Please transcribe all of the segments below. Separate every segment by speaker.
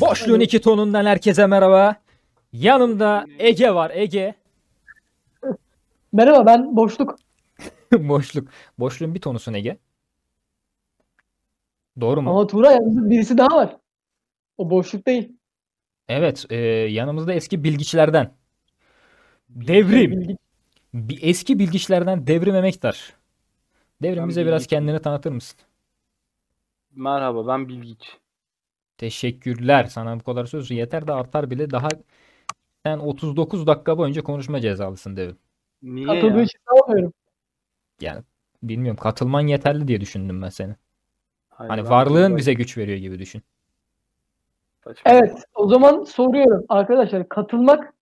Speaker 1: Koşluğun iki tonundan herkese merhaba. Yanımda Ege var Ege.
Speaker 2: Merhaba ben boşluk.
Speaker 1: Boşluk. Boşluğun bir tonusun Ege. Doğru mu?
Speaker 2: Ama Tuğra yalnız birisi daha var. O boşluk değil.
Speaker 1: Evet. e, yanımızda eski bilgiçlerden. Devrim.
Speaker 2: Bilgi-
Speaker 1: Bi- Eski bilgiçlerden Devrim Emektar. Devrim
Speaker 3: Ben
Speaker 1: bize biraz
Speaker 3: bilgiç-
Speaker 1: kendini tanıtır mısın?
Speaker 3: Merhaba ben Bilgiç.
Speaker 1: Teşekkürler. Sana bu kadar söz yeter de artar bile. Daha sen 39 dakika boyunca konuşma cezalısın Devrim.
Speaker 3: Niye
Speaker 2: Katıldığı
Speaker 3: ya?
Speaker 2: için sanmıyorum.
Speaker 1: Bilmiyorum katılman yeterli diye düşündüm ben seni.
Speaker 3: Hayır,
Speaker 1: Hani
Speaker 3: ben
Speaker 1: varlığın
Speaker 3: katılmıyorum.
Speaker 1: bize güç veriyor gibi düşün.
Speaker 3: Saçma.
Speaker 2: Evet o zaman soruyorum arkadaşlar katılmak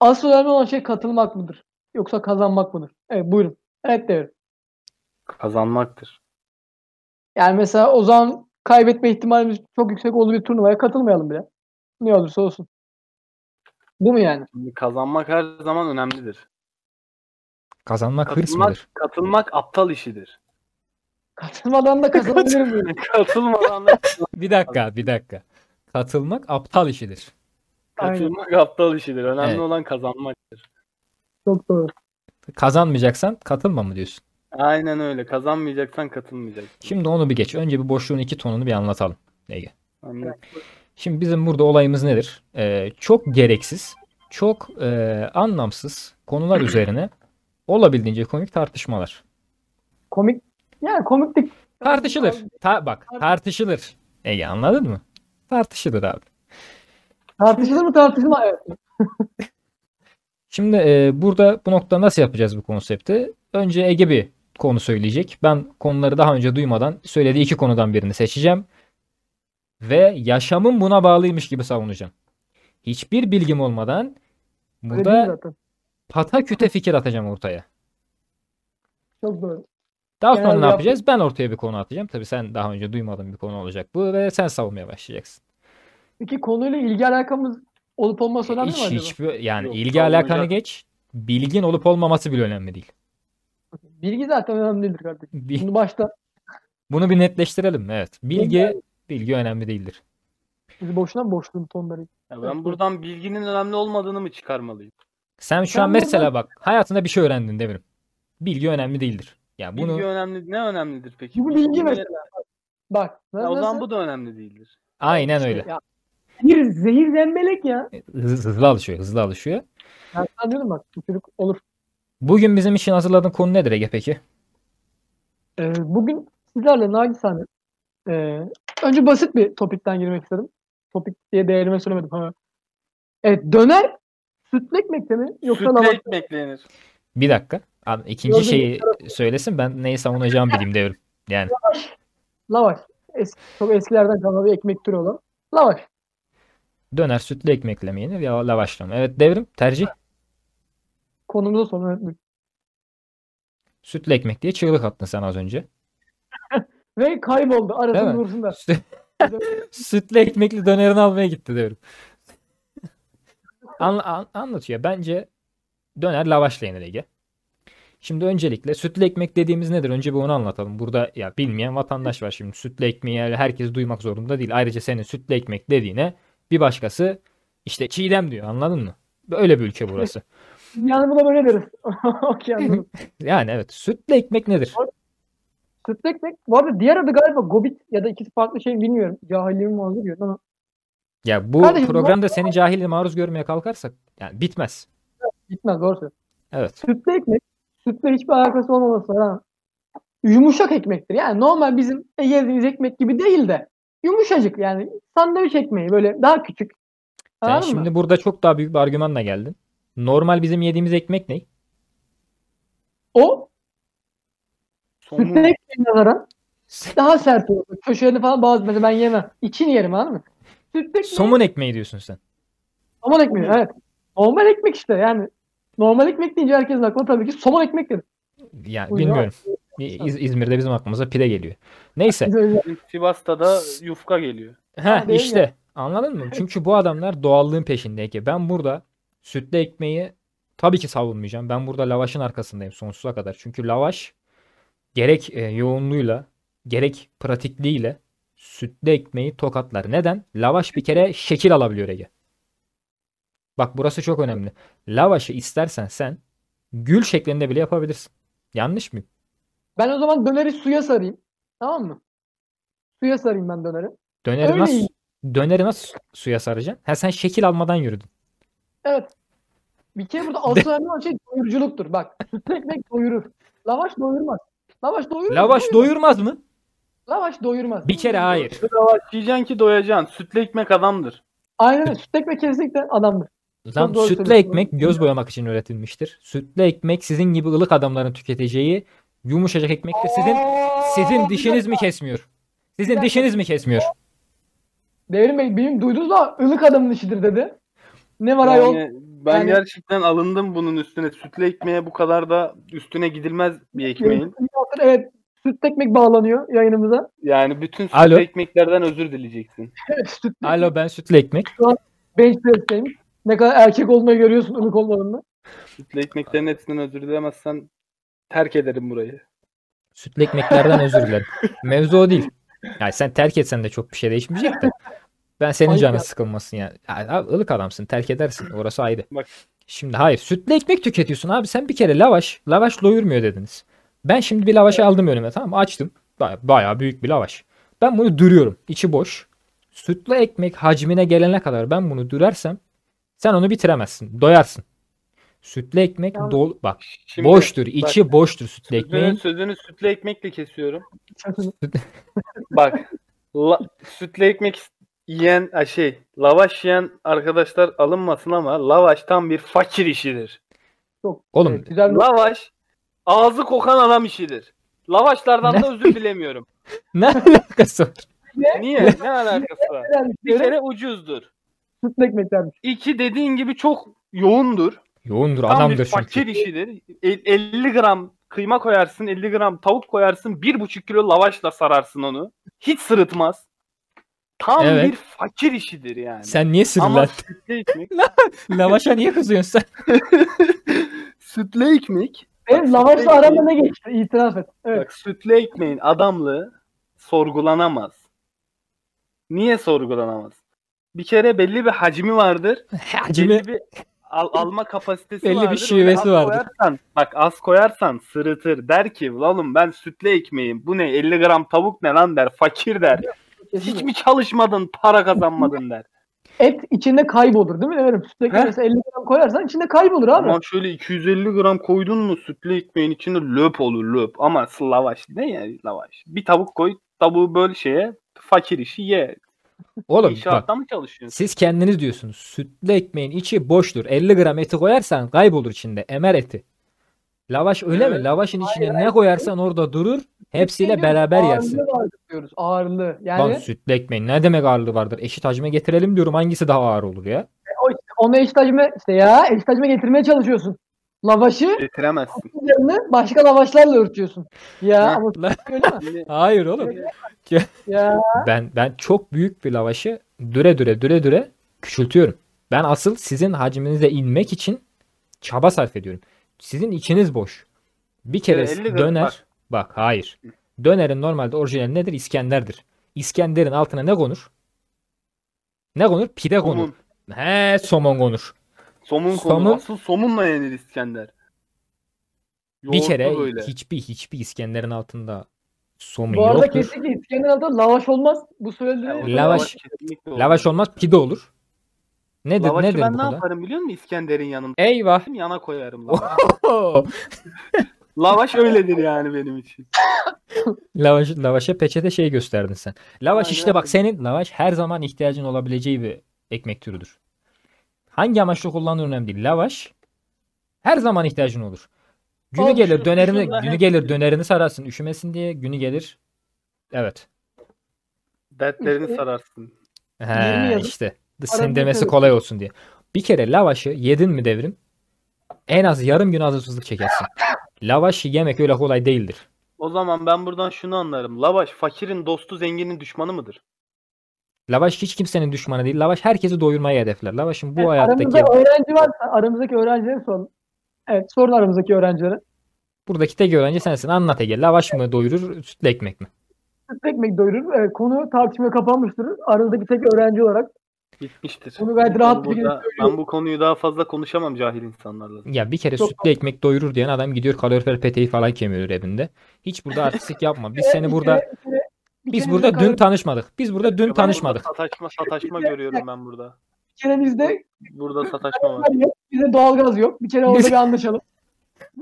Speaker 2: asıl önemli olan şey katılmak mıdır? Yoksa kazanmak mıdır? Evet buyurun. Evet diyorum.
Speaker 3: Kazanmaktır.
Speaker 2: Yani mesela o zaman kaybetme ihtimalimiz çok yüksek olduğu bir turnuvaya katılmayalım bile. Ne olursa olsun. Bu mu yani?
Speaker 3: Şimdi kazanmak her zaman önemlidir.
Speaker 1: Kazanmak hırs
Speaker 3: Katılmak,
Speaker 1: mıdır?
Speaker 3: katılmak aptal işidir.
Speaker 2: Katılmadan da kazanabilirim diyorum.
Speaker 3: Katılmadan da
Speaker 1: Bir dakika, bir dakika. Katılmak aptal işidir.
Speaker 3: katılmak aptal işidir. Önemli
Speaker 1: Evet.
Speaker 3: olan kazanmaktır.
Speaker 2: Çok doğru.
Speaker 1: Kazanmayacaksan katılma mı diyorsun?
Speaker 3: Aynen öyle. Kazanmayacaksan katılmayacaksın.
Speaker 1: Şimdi onu bir geç. Önce bir boşluğun iki tonunu bir anlatalım. Ege.
Speaker 3: Anladın?
Speaker 1: Şimdi bizim burada olayımız nedir? Ee, çok gereksiz, çok e, anlamsız konular üzerine olabildiğince komik tartışmalar.
Speaker 2: Komik. Yani komiklik.
Speaker 1: Tartışılır. Ta- bak tartışılır. Ege anladın mı? Tartışılır abi.
Speaker 2: Tartışılır mı tartışılmaz. Evet.
Speaker 1: Şimdi e, burada bu noktada nasıl yapacağız bu konsepti? Önce Ege bir konu söyleyecek. Ben konuları daha önce duymadan söylediği iki konudan birini seçeceğim. Ve yaşamım buna bağlıymış gibi savunacağım. Hiçbir bilgim olmadan
Speaker 2: Öyle değil
Speaker 1: burada
Speaker 2: zaten.
Speaker 1: pataküte fikir atacağım ortaya.
Speaker 2: Çok doğru.
Speaker 1: Daha
Speaker 2: Genel
Speaker 1: sonra ne
Speaker 2: yap-
Speaker 1: yapacağız? Ben ortaya bir konu atacağım. Tabii sen daha önce duymadığın bir konu olacak bu ve sen savunmaya başlayacaksın.
Speaker 2: Peki konuyla ilgi alakamız olup
Speaker 3: E,
Speaker 2: olması önemli mi
Speaker 1: Hiç,
Speaker 2: acaba?
Speaker 1: hiçbir, yani
Speaker 3: Yok,
Speaker 1: ilgi
Speaker 3: savunacak.
Speaker 1: alakanı geç. Bilgin olup olmaması bile önemli değil.
Speaker 2: Bilgi zaten önemli değildir kardeşim.
Speaker 1: Bil-
Speaker 2: Bunu başta
Speaker 1: Bunu bir netleştirelim. Evet. Bilgi bilgi önemli değildir.
Speaker 2: biz boşuna boşluğun tonları.
Speaker 3: Ya ben buradan bilginin önemli olmadığını mı çıkarmalıyım?
Speaker 1: Sen şu
Speaker 2: Ben
Speaker 1: an mesela
Speaker 2: buradan-
Speaker 1: bak hayatında bir şey öğrendin Devrim. Bilgi önemli değildir. Ya
Speaker 3: Bilgi
Speaker 1: bunu
Speaker 3: önemli ne önemlidir peki?
Speaker 2: Bu bilgi
Speaker 3: ne-
Speaker 2: mesela. Bak.
Speaker 3: Ya o zaman bu da önemli değildir.
Speaker 1: aynen öyle.
Speaker 2: Ya, zehir, zehir zemberek ya.
Speaker 3: E,
Speaker 1: Hız- hızlı alışıyor, hızlı alışıyor.
Speaker 2: Ben sana diyorum bak bu çocuk olur.
Speaker 1: Bugün bizim için hazırladığın konu nedir Ege peki?
Speaker 2: Ee, bugün sizlerle nacizane ee, önce basit bir topikten girmek istedim. Topik diye değerime söylemedim ama. Evet döner sütlü ekmekte mi yoksa
Speaker 3: Sütle
Speaker 2: lavaş
Speaker 3: ekmek yenir.
Speaker 1: Bir dakika. Abi, ikinci
Speaker 2: Gördüğün
Speaker 1: şeyi söylesin ben neyi savunacağımı bileyim Devrim. Yani
Speaker 2: lavaş. Es- çok eskilerden kalma bir ekmek türü olan lavaş.
Speaker 1: döner sütlü ekmekle mi yenir ya lavaşla mı? Evet Devrim tercih
Speaker 2: Konumuza sonra evet,
Speaker 1: sütlü ekmek diye çığlık attın sen az önce.
Speaker 2: Ve kayboldu.
Speaker 1: Değil mi?
Speaker 2: Arasın dursun da.
Speaker 1: Sü- sütlü ekmekli dönerini almaya gitti Devrim. Anla- an- anlatıyor. Bence döner lavaşla yenir Ege. Şimdi öncelikle sütlü ekmek dediğimiz nedir? Önce bir onu anlatalım. Burada ya bilmeyen vatandaş var şimdi. Sütlü ekmeği her- herkes duymak zorunda değil. Ayrıca senin sütlü ekmek dediğine bir başkası işte çiğdem diyor. Anladın mı? Böyle bir ülke burası.
Speaker 2: Yani buna böyle deriz. Okey anladım.
Speaker 1: Yani evet sütlü ekmek nedir?
Speaker 2: Sütlü ekmek. Bu arada diğer adı galiba gobit ya da ikisi farklı şey bilmiyorum. Cahilliğim vardır diyor ama
Speaker 1: Ya bu
Speaker 2: Kardeşim,
Speaker 1: programda seni cahil maruz görmeye kalkarsak yani bitmez.
Speaker 2: gitmez doğru söylüyor.
Speaker 1: Evet.
Speaker 2: Sütlü ekmek. Sütle hiçbir alakası olmaması var ha. Yumuşak ekmektir. Yani normal bizim e, yediğimiz ekmek gibi değil de yumuşacık yani sandviç ekmeği böyle daha küçük.
Speaker 1: Sen
Speaker 2: Anladın
Speaker 1: şimdi
Speaker 2: mı?
Speaker 1: burada çok daha büyük bir argümanla geldin. Normal bizim yediğimiz ekmek ne?
Speaker 2: O
Speaker 3: Somun.
Speaker 2: sütle ekmeğe nazaran daha sert olur. Köşelerini falan bazı mesela ben yemem. İçini yerim anladın mı? Sütlü ekmek.
Speaker 1: Somun ekmeği diyorsun sen.
Speaker 2: Somon ekmeği evet. Normal ekmek işte yani. Normal ekmek deyince herkesin aklına tabii ki somon ekmek gelir.
Speaker 1: Yani
Speaker 2: Uyuyor.
Speaker 1: bilmiyorum. İz- İzmir'de bizim aklımıza pide geliyor. Neyse.
Speaker 2: Bize-
Speaker 3: Bizim Sivas'ta da yufka geliyor.
Speaker 1: Heh,
Speaker 2: değil mi?
Speaker 1: işte. Anladın mı? Çünkü bu adamlar doğallığın peşindeki. Ben burada sütlü ekmeği tabii ki savunmayacağım. Ben burada lavaşın arkasındayım sonsuza kadar. Çünkü lavaş gerek e, yoğunluğuyla gerek pratikliğiyle sütlü ekmeği tokatlar. Neden? Lavaş bir kere şekil alabiliyor Ege. Bak burası çok önemli. Lavaşı istersen sen gül şeklinde bile yapabilirsin. Yanlış mı?
Speaker 2: Ben o zaman döneri suya sarayım. Tamam mı? Suya sarayım ben döneri.
Speaker 1: Döneri
Speaker 2: Öyle
Speaker 1: nasıl
Speaker 2: iyi.
Speaker 1: döneri nasıl suya saracaksın? Ha sen şekil almadan yürüdün.
Speaker 2: Evet. Bir kere burada asıl önemli olan şey doyuruculuktur. Bak sütlü ekmek doyurur. Lavaş doyurmaz. Lavaş doyurur. mu?
Speaker 1: Lavaş
Speaker 2: Doyurur.
Speaker 1: doyurmaz mı?
Speaker 2: Lavaş doyurmaz.
Speaker 1: Bir kere hayır.
Speaker 3: Lavaş yiyeceksin ki doyacaksın. Sütlü ekmek adamdır.
Speaker 2: Aynen öyle. Sütlü ekmek kesinlikle adamdır.
Speaker 1: Lan
Speaker 2: doğru
Speaker 1: sütlü
Speaker 2: söylüyorsun.
Speaker 1: ekmek göz boyamak için üretilmiştir. Sütlü ekmek sizin gibi ılık adamların tüketeceği yumuşacık ekmek de sizin sizin dişiniz mi kesmiyor? Sizin
Speaker 2: dakika.
Speaker 1: dişiniz mi kesmiyor?
Speaker 2: Devrim Bey benim duyduğunuz ama ılık adamın işidir dedi. Ne var ayol?
Speaker 3: Yani ben
Speaker 2: Yani-
Speaker 3: gerçekten alındım bunun üstüne. Sütlü ekmeğe bu kadar da üstüne gidilmez bir ekmeğin.
Speaker 2: Evet. Sütlü ekmek bağlanıyor yayınımıza.
Speaker 3: Yani bütün sütlü
Speaker 1: Alo.
Speaker 3: ekmeklerden özür dileyeceksin.
Speaker 2: Evet, sütlü
Speaker 1: Alo ben sütlü ekmek.
Speaker 2: bench press'teymiş. Ne kadar erkek olmayı görüyorsun ılık olmadığını.
Speaker 3: Sütlü ekmeklerin hepsinden özür dilemezsen terk ederim burayı.
Speaker 1: Sütlü ekmeklerden özür dilerim. Mevzu o değil. Yani sen terk etsen de çok bir şey değişmeyecek de. Ben senin
Speaker 2: Hayır
Speaker 1: canın
Speaker 2: ya.
Speaker 1: sıkılmasın yani. yani. abi ılık adamsın terk edersin orası ayrı.
Speaker 3: Bak.
Speaker 1: Şimdi hayır sütlü ekmek tüketiyorsun abi sen bir kere lavaş lavaş doyurmuyor dediniz. Ben şimdi bir lavaşı aldım önüme tamam mı? açtım. Baya, bayağı büyük bir lavaş. Ben bunu dürüyorum içi boş. Sütlü ekmek hacmine gelene kadar ben bunu dürersem sen onu bitiremezsin doyarsın. Sütlü ekmek
Speaker 2: Yalnız-
Speaker 1: dol bak
Speaker 3: Şimdi
Speaker 1: boştur içi boştur sütlü
Speaker 3: sözünü,
Speaker 1: ekmeğin.
Speaker 3: sözünü sütlü ekmekle kesiyorum.
Speaker 2: Şaşırdım.
Speaker 3: Bak la, sütlü ekmek is- yiyen a, şey lavaş yiyen arkadaşlar alınmasın ama lavaş tam bir fakir işidir.
Speaker 2: Çok
Speaker 1: Oğlum,
Speaker 2: evet, güzel bir
Speaker 3: Lavaş ağzı kokan adam işidir. Lavaşlardan da özür dilemiyorum.
Speaker 1: Ne alakası var?
Speaker 3: Niye? Ne alakası var?
Speaker 2: güzel bir
Speaker 3: Bir
Speaker 2: şey.
Speaker 3: kere ucuzdur.
Speaker 2: Sütlü ekmek dermiş.
Speaker 3: İki dediğin gibi çok yoğundur.
Speaker 1: Yoğundur
Speaker 3: Tam
Speaker 1: adamdır
Speaker 3: bir
Speaker 1: çünkü.
Speaker 3: fakir işidir. El- 50 gram kıyma koyarsın, 50 gram tavuk koyarsın, 1,5 kilo lavaşla sararsın onu. Hiç sırıtmaz. Tam
Speaker 1: Evet.
Speaker 3: bir fakir işidir yani.
Speaker 1: Sen niye
Speaker 3: Ama
Speaker 1: sinirlendin?
Speaker 3: sütlü ekmek,
Speaker 1: Lavaşa niye kızıyorsun sen?
Speaker 3: sütlü ekmek,
Speaker 2: Benim lavaşla
Speaker 3: ekmeği-
Speaker 2: aramda ne geçti? İtiraf et. Evet.
Speaker 3: bak sütlü ekmeğin adamlığı sorgulanamaz. Niye sorgulanamaz? Bir kere belli bir hacmi vardır.
Speaker 1: Hacmi
Speaker 3: belli bir al- alma kapasitesi
Speaker 1: Belli bir
Speaker 3: vardır. Öyle
Speaker 1: şivesi
Speaker 3: az
Speaker 1: vardır.
Speaker 3: Koyarsan, bak az koyarsan sırıtır. Der ki oğlum ben sütlü ekmeğim. Bu ne 50 gram tavuk ne lan der. Fakir der. Hiç
Speaker 2: kesinlikle.
Speaker 3: mi çalışmadın para kazanmadın der.
Speaker 2: Et içinde kaybolur değil mi? Devrim sütlü ekmek
Speaker 3: He?
Speaker 2: mesela 50 gram koyarsan içinde kaybolur abi.
Speaker 3: Ama şöyle 250 gram koydun mu sütlü ekmeğin içinde löp olur löp. Ama lavaş ne yani lavaş. Bir tavuk koy tavuğu böl şeye fakir işi ye.
Speaker 1: oğlum bak
Speaker 3: İnşaatta mı çalışıyorsun?
Speaker 1: siz kendiniz diyorsunuz sütlü ekmeğin içi boştur. 50 gram eti koyarsan kaybolur içinde emer eti. Lavaş öyle mi?
Speaker 3: Evet.
Speaker 1: Lavaşın içine ne koyarsan orada durur. Hepsiyle beraber yersin.
Speaker 2: Ağırlığı vardır diyoruz. Ağırlığı.
Speaker 1: Lan
Speaker 2: Yani
Speaker 1: sütlü ekmeğin ne demek ağırlığı vardır? Eşit hacme getirelim diyorum. Hangisi daha ağır olur ya?
Speaker 2: onu eşit hacme işte ya eşit hacme getirmeye çalışıyorsun. Lavaşı
Speaker 3: Getiremezsin.
Speaker 2: yanını başka lavaşlarla örtüyorsun. Ya
Speaker 3: Ha.
Speaker 2: ama
Speaker 1: Lan-
Speaker 2: öyle mi?
Speaker 3: Şimdi
Speaker 1: Hayır oğlum.
Speaker 2: Ya
Speaker 1: Ben ben çok büyük bir lavaşı düre düre düre düre küçültüyorum. Ben asıl sizin hacminize inmek için çaba sarf ediyorum. Sizin içiniz boş. Bir kere
Speaker 3: Evet, 50 gram,
Speaker 1: döner. Bak.
Speaker 3: bak.
Speaker 1: hayır. Dönerin normalde orijinali nedir? İskender'dir. İskender'in altına ne konur? Ne konur? Pide konur.
Speaker 3: somun.
Speaker 1: He somon konur.
Speaker 3: Somun
Speaker 1: Somun-
Speaker 3: konu. Asıl somunla yenir İskender.
Speaker 1: bir
Speaker 3: Yoğurtlu
Speaker 1: kere
Speaker 3: böyle.
Speaker 1: hiçbir hiçbir İskender'in altında somun
Speaker 2: bu arada
Speaker 1: yoktur.
Speaker 2: kesinlikle İskender altında lavaş olmaz. Bu
Speaker 3: Ya, o
Speaker 2: söylediğini
Speaker 3: zaman
Speaker 1: Lavaş-
Speaker 3: kesinlikle olur.
Speaker 1: Lavaş olmaz pide olur. Nedir
Speaker 3: Lavaşı
Speaker 1: nedir
Speaker 3: ben
Speaker 1: bu E-
Speaker 3: ne
Speaker 1: konuda?
Speaker 3: yaparım biliyor musun İskender'in yanında?
Speaker 1: Eyvah.
Speaker 3: Yana koyarım lavaş. lavaş öyledir yani benim için.
Speaker 1: Lavaş, lavaşa peçete şey gösterdin sen. Lavaş
Speaker 3: Aynen
Speaker 1: işte bak
Speaker 3: öyle.
Speaker 1: senin lavaş her zaman ihtiyacın olabileceği bir ekmek türüdür. Hangi amaçla kullandığın önemli değil. Lavaş her zaman ihtiyacın olur. Günü
Speaker 2: Oğlum
Speaker 1: gelir
Speaker 3: şu-
Speaker 1: dönerini
Speaker 3: şunu da
Speaker 1: günü
Speaker 3: hep-
Speaker 1: gelir dönerini sararsın üşümesin diye günü gelir. Evet.
Speaker 3: Dertlerini
Speaker 2: İşte-
Speaker 3: sararsın.
Speaker 1: He,
Speaker 2: yıl
Speaker 1: işte.
Speaker 2: arada
Speaker 1: Senin demesi
Speaker 2: şöyle-
Speaker 1: kolay olsun diye. Bir kere lavaşı yedin mi devrim? En az yarım gün hazırsızlık çekersin. Lavaşı yemek öyle kolay değildir.
Speaker 3: O zaman ben buradan şunu anlarım. Lavaş fakirin dostu zenginin düşmanı mıdır?
Speaker 1: Lavaş hiç kimsenin düşmanı değil. Lavaş herkesi doyurmayı hedefler. Lavaşın bu hayattaki
Speaker 2: Aramızda öğrenci varsa aramızdaki öğrencilere sorun. Evet sorun aramızdaki öğrencilere.
Speaker 1: Buradaki tek öğrenci sensin. Anlat Ege. Lavaş mı doyurur, sütlü ekmek mi?
Speaker 2: sütlü ekmek doyurur. E, konu tartışmaya kapanmıştır. Aranızdaki tek öğrenci olarak.
Speaker 3: Bitmiştir.
Speaker 2: Bunu gayet rahat bir
Speaker 3: ben, burada,
Speaker 2: şekilde
Speaker 3: ben bu konuyu daha fazla konuşamam cahil insanlarla.
Speaker 1: Ya bir kere
Speaker 2: Çok-
Speaker 1: sütlü ekmek doyurur diyen adam gidiyor kalorifer peteği falan kemiyor evinde. Hiç burada artistik yapma. Biz seni
Speaker 2: Bir
Speaker 1: burada
Speaker 2: kere- bir kere- bir
Speaker 1: biz
Speaker 2: kere
Speaker 1: burada
Speaker 2: bizde
Speaker 1: dün tanışmadık. Biz burada dün
Speaker 3: Ya ben
Speaker 1: tanışmadık.
Speaker 3: Burada sataşma sataşma görüyorum ben burada.
Speaker 2: Bir kere bizde
Speaker 3: Burada sataşma var.
Speaker 2: var yok. Bize doğalgaz yok. Bir kere orada bir anlaşalım.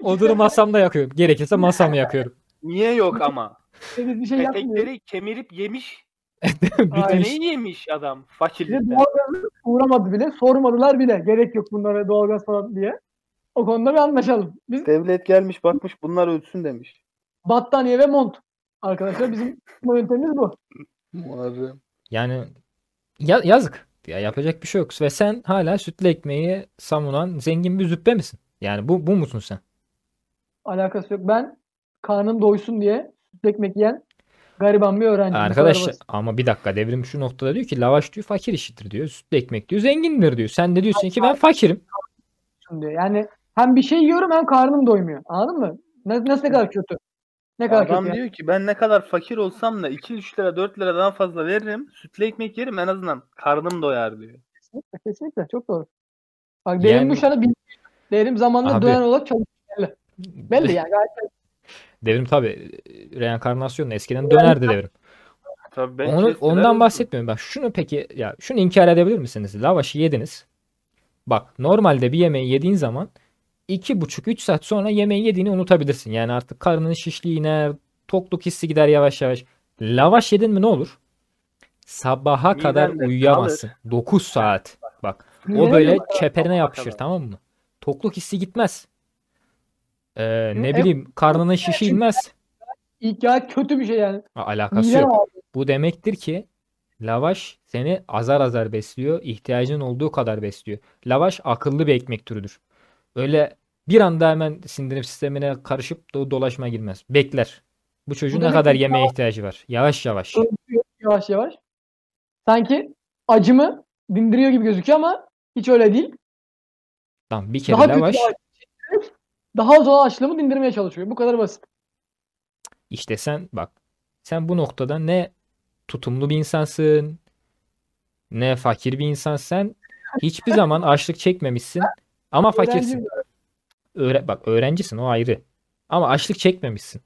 Speaker 1: Odunu masamda yakıyorum. Gerekirse masamı yakıyorum.
Speaker 3: Niye yok ama?
Speaker 2: Bize biz bir şey yapmıyoruz.
Speaker 3: Petekleri kemirip yemiş.
Speaker 1: Bitmiş.
Speaker 3: Neyi yemiş adam?
Speaker 2: Bize
Speaker 3: Fakirlikten.
Speaker 2: doğalgazı uğramadı bile. Sormadılar bile. Gerek yok bunlara doğalgaz falan diye. O konuda bir anlaşalım. Biz
Speaker 3: Devlet gelmiş bakmış bunlar ölsün demiş.
Speaker 2: battaniye ve mont. Arkadaşlar bizim yöntemimiz bu.
Speaker 3: Muharrem.
Speaker 1: Yani ya- yazık. Ya yapacak bir şey yok. Ve sen hala sütlü ekmeği savunan zengin bir züppe misin? Yani bu bu musun sen?
Speaker 2: Alakası yok. Ben karnım doysun diye süt ekmek yiyen gariban bir öğrenci.
Speaker 1: Arkadaşlar ama bir dakika devrim şu noktada diyor ki lavaş diyor fakir işidir diyor. Sütlü ekmek diyor zengindir diyor. Sen de diyorsun ki ben fakirim.
Speaker 2: Doysun diye. Yani hem bir şey yiyorum hem karnım doymuyor. Anladın mı? Ne- Nasıl ne kadar kötü? Ne kadar
Speaker 3: Adam
Speaker 2: kötü? yani?
Speaker 3: diyor ki ben ne kadar fakir olsam da 2-3 lira 4 liradan fazla veririm. Sütlü ekmek yerim en azından karnım doyar diyor.
Speaker 2: Kesinlikle, kesinlikle. Çok doğru. Bak derim
Speaker 1: Yani-
Speaker 2: bu şarkı bil- Derim zamanında
Speaker 1: Abi-
Speaker 2: dönen olarak çalışıyor. Belli yani. Gayet
Speaker 1: Devrim tabi reenkarnasyonla eskiden dönerdi devrim.
Speaker 3: Tabii ben şey
Speaker 1: Onu,
Speaker 3: kestiler
Speaker 1: ondan
Speaker 3: öldüm.
Speaker 1: bahsetmiyorum. Bak şunu peki ya şunu inkar edebilir misiniz? Lavaşı yediniz. Bak normalde bir yemeği yediğin zaman iki buçuk üç saat sonra yemeği yediğini unutabilirsin. Yani artık karnının şişliği iner, tokluk hissi gider yavaş yavaş. Lavaş yedin mi ne olur? Sabaha
Speaker 3: Midende
Speaker 1: kadar
Speaker 3: kalır.
Speaker 1: uyuyamazsın. 9 saat. Bak o
Speaker 2: Midende
Speaker 1: böyle
Speaker 2: kalır.
Speaker 1: çeperine
Speaker 3: Sabaha
Speaker 1: yapışır
Speaker 3: kadar.
Speaker 1: tamam mı? Tokluk hissi gitmez. Ee, ne
Speaker 2: E,
Speaker 1: bileyim karnının şişi inmez.
Speaker 2: İlk gayet kötü bir şey yani.
Speaker 1: Aa, alakası
Speaker 2: Midem
Speaker 1: yok.
Speaker 2: ağrıyor.
Speaker 1: Bu demektir ki lavaş seni azar azar besliyor, ihtiyacın olduğu kadar besliyor. Lavaş akıllı bir ekmek türüdür. Öyle bir anda hemen sindirim sistemine karışıp do- dolaşma girmez. Bekler. Bu çocuğun ne
Speaker 2: demek
Speaker 1: kadar
Speaker 2: ki
Speaker 1: yemeğe ihtiyacı var. Yavaş yavaş.
Speaker 2: Öldürüyor yavaş yavaş. Sanki acımı dindiriyor gibi gözüküyor ama hiç öyle değil.
Speaker 1: Tamam bir kere
Speaker 2: Daha kötü
Speaker 1: lavaş.
Speaker 2: bir acı. Daha zor açlığımı dindirmeye çalışıyor. Bu kadar basit.
Speaker 1: İşte sen bak sen bu noktada ne tutumlu bir insansın ne fakir bir insansın. Sen hiçbir zaman açlık çekmemişsin ama fakirsin.
Speaker 2: Öğrenciyim.
Speaker 1: Öğre- bak öğrencisin o ayrı. Ama açlık çekmemişsin.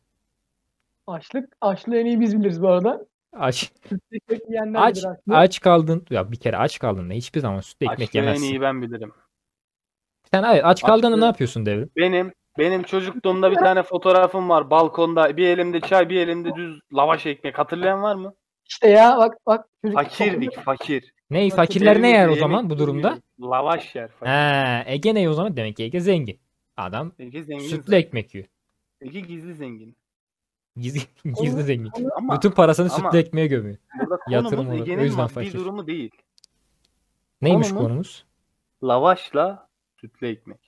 Speaker 2: Açlık. Açlığı en iyi biz biliriz bu arada.
Speaker 1: Aç,
Speaker 2: Ekmek yiyenler
Speaker 1: aç,
Speaker 2: bilir aslında.
Speaker 1: aç kaldın. Ya bir kere aç kaldın da hiçbir zaman sütlü ekmek
Speaker 3: Açlığı en
Speaker 1: yemezsin.
Speaker 3: iyi ben bilirim.
Speaker 1: Sen hayır aç kaldığında ne
Speaker 3: Açlığı-
Speaker 1: yapıyorsun devrim?
Speaker 3: Benim benim çocukluğumda bir tane fotoğrafım var balkonda. Bir elimde çay, bir elimde düz lavaş ekmek. Hatırlayan var mı?
Speaker 2: İşte ya bak bak. Çocuk
Speaker 3: Fakirdik, fakir.
Speaker 1: Ney
Speaker 2: Bak,
Speaker 1: fakirler ne
Speaker 3: Elimizde
Speaker 1: yer o
Speaker 3: yemek
Speaker 1: zaman bu durumda?
Speaker 3: yemiyoruz. Lavaş yer. Fakir.
Speaker 1: He, Ege ne o zaman? Demek ki Ege zengin. Adam
Speaker 3: Ege zengin.
Speaker 1: sütlü ekmek yiyor.
Speaker 3: Ege gizli zengin.
Speaker 1: Gizli, gizli zengin.
Speaker 3: Ama
Speaker 1: Bütün parasını
Speaker 3: ama-
Speaker 1: sütlü ekmeğe gömüyor.
Speaker 3: burada
Speaker 1: yatırım
Speaker 3: konumuz
Speaker 1: olarak, o
Speaker 3: Ege'nin
Speaker 1: yüzden
Speaker 3: maddi
Speaker 1: fakir.
Speaker 3: durumu değil.
Speaker 1: Neymiş
Speaker 3: Konumu-
Speaker 1: konumuz?
Speaker 3: Lavaşla sütlü ekmek.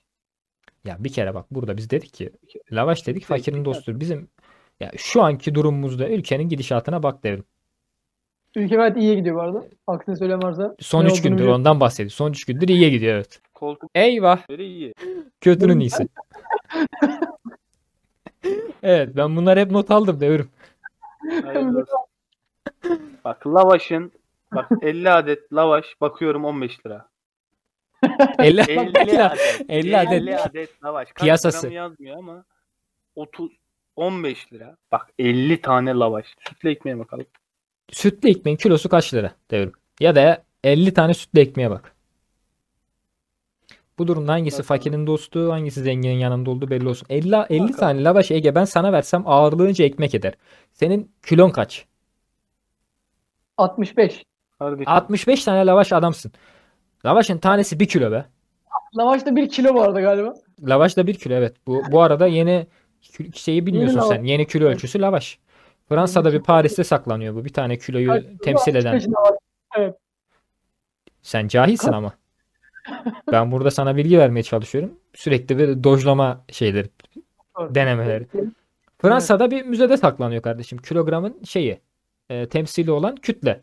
Speaker 1: Ya bir kere bak burada biz dedik ki lavaş dedik
Speaker 3: Sütlü
Speaker 1: fakirin
Speaker 3: ekmek
Speaker 1: dostudur. Bizim ya şu anki durumumuzda ülkenin gidişatına bak devrim.
Speaker 2: Ülke gayet iyiye gidiyor bu arada. Aksini söyleyen varsa.
Speaker 1: Son
Speaker 2: Ne
Speaker 1: 3
Speaker 2: olduğunu
Speaker 1: gündür
Speaker 2: biliyorum.
Speaker 1: ondan bahsediyor. Son 3 gündür iyiye gidiyor evet.
Speaker 3: Koltuk
Speaker 1: Eyvah.
Speaker 3: böyle iyi.
Speaker 1: Kötünün iyisi. evet ben bunları hep not aldım devrim.
Speaker 3: Hayırlı olsun. bak lavaşın bak 50 adet lavaş bakıyorum 15 lira.
Speaker 1: 50
Speaker 3: 50
Speaker 1: lira.
Speaker 3: adet.
Speaker 1: 50 adet.
Speaker 3: 50 adet lavaş. Kaç
Speaker 1: Piyasası.
Speaker 3: gramı yazmıyor ama 30 15 lira. Bak 50 tane lavaş. Sütle ekmeğe bakalım.
Speaker 1: Sütlü ekmeğin kilosu kaç lira devrim? Ya da 50 tane sütlü ekmeğe bak. Bu durumda hangisi
Speaker 3: Bakalım.
Speaker 1: fakirin dostu, hangisi zenginin yanında olduğu belli olsun. 50, 50 tane lavaş Ege ben sana versem ağırlığınca ekmek eder. Senin kilon kaç?
Speaker 2: 65.
Speaker 3: Kardeşim.
Speaker 1: 65 tane lavaş adamsın. Lavaşın tanesi 1 kilo be.
Speaker 2: Lavaş da 1 kilo bu arada galiba.
Speaker 1: Lavaş da 1 kilo evet. Bu, bu arada yeni kü- şeyi bilmiyorsun
Speaker 2: lavaş.
Speaker 1: sen. Yeni kilo ölçüsü lavaş. Fransa'da bir Paris'te saklanıyor bu. Bir tane kiloyu
Speaker 2: Kaç kilo?
Speaker 1: temsil eden.
Speaker 2: 65 lavaş.
Speaker 1: Sen cahilsin ama. Ben burada sana bilgi vermeye çalışıyorum. Sürekli bir dojlama şeyleri,
Speaker 2: Doğru.
Speaker 1: denemeleri. Fransa'da bir müzede saklanıyor kardeşim. Kilogramın şeyi, e, temsili olan kütle.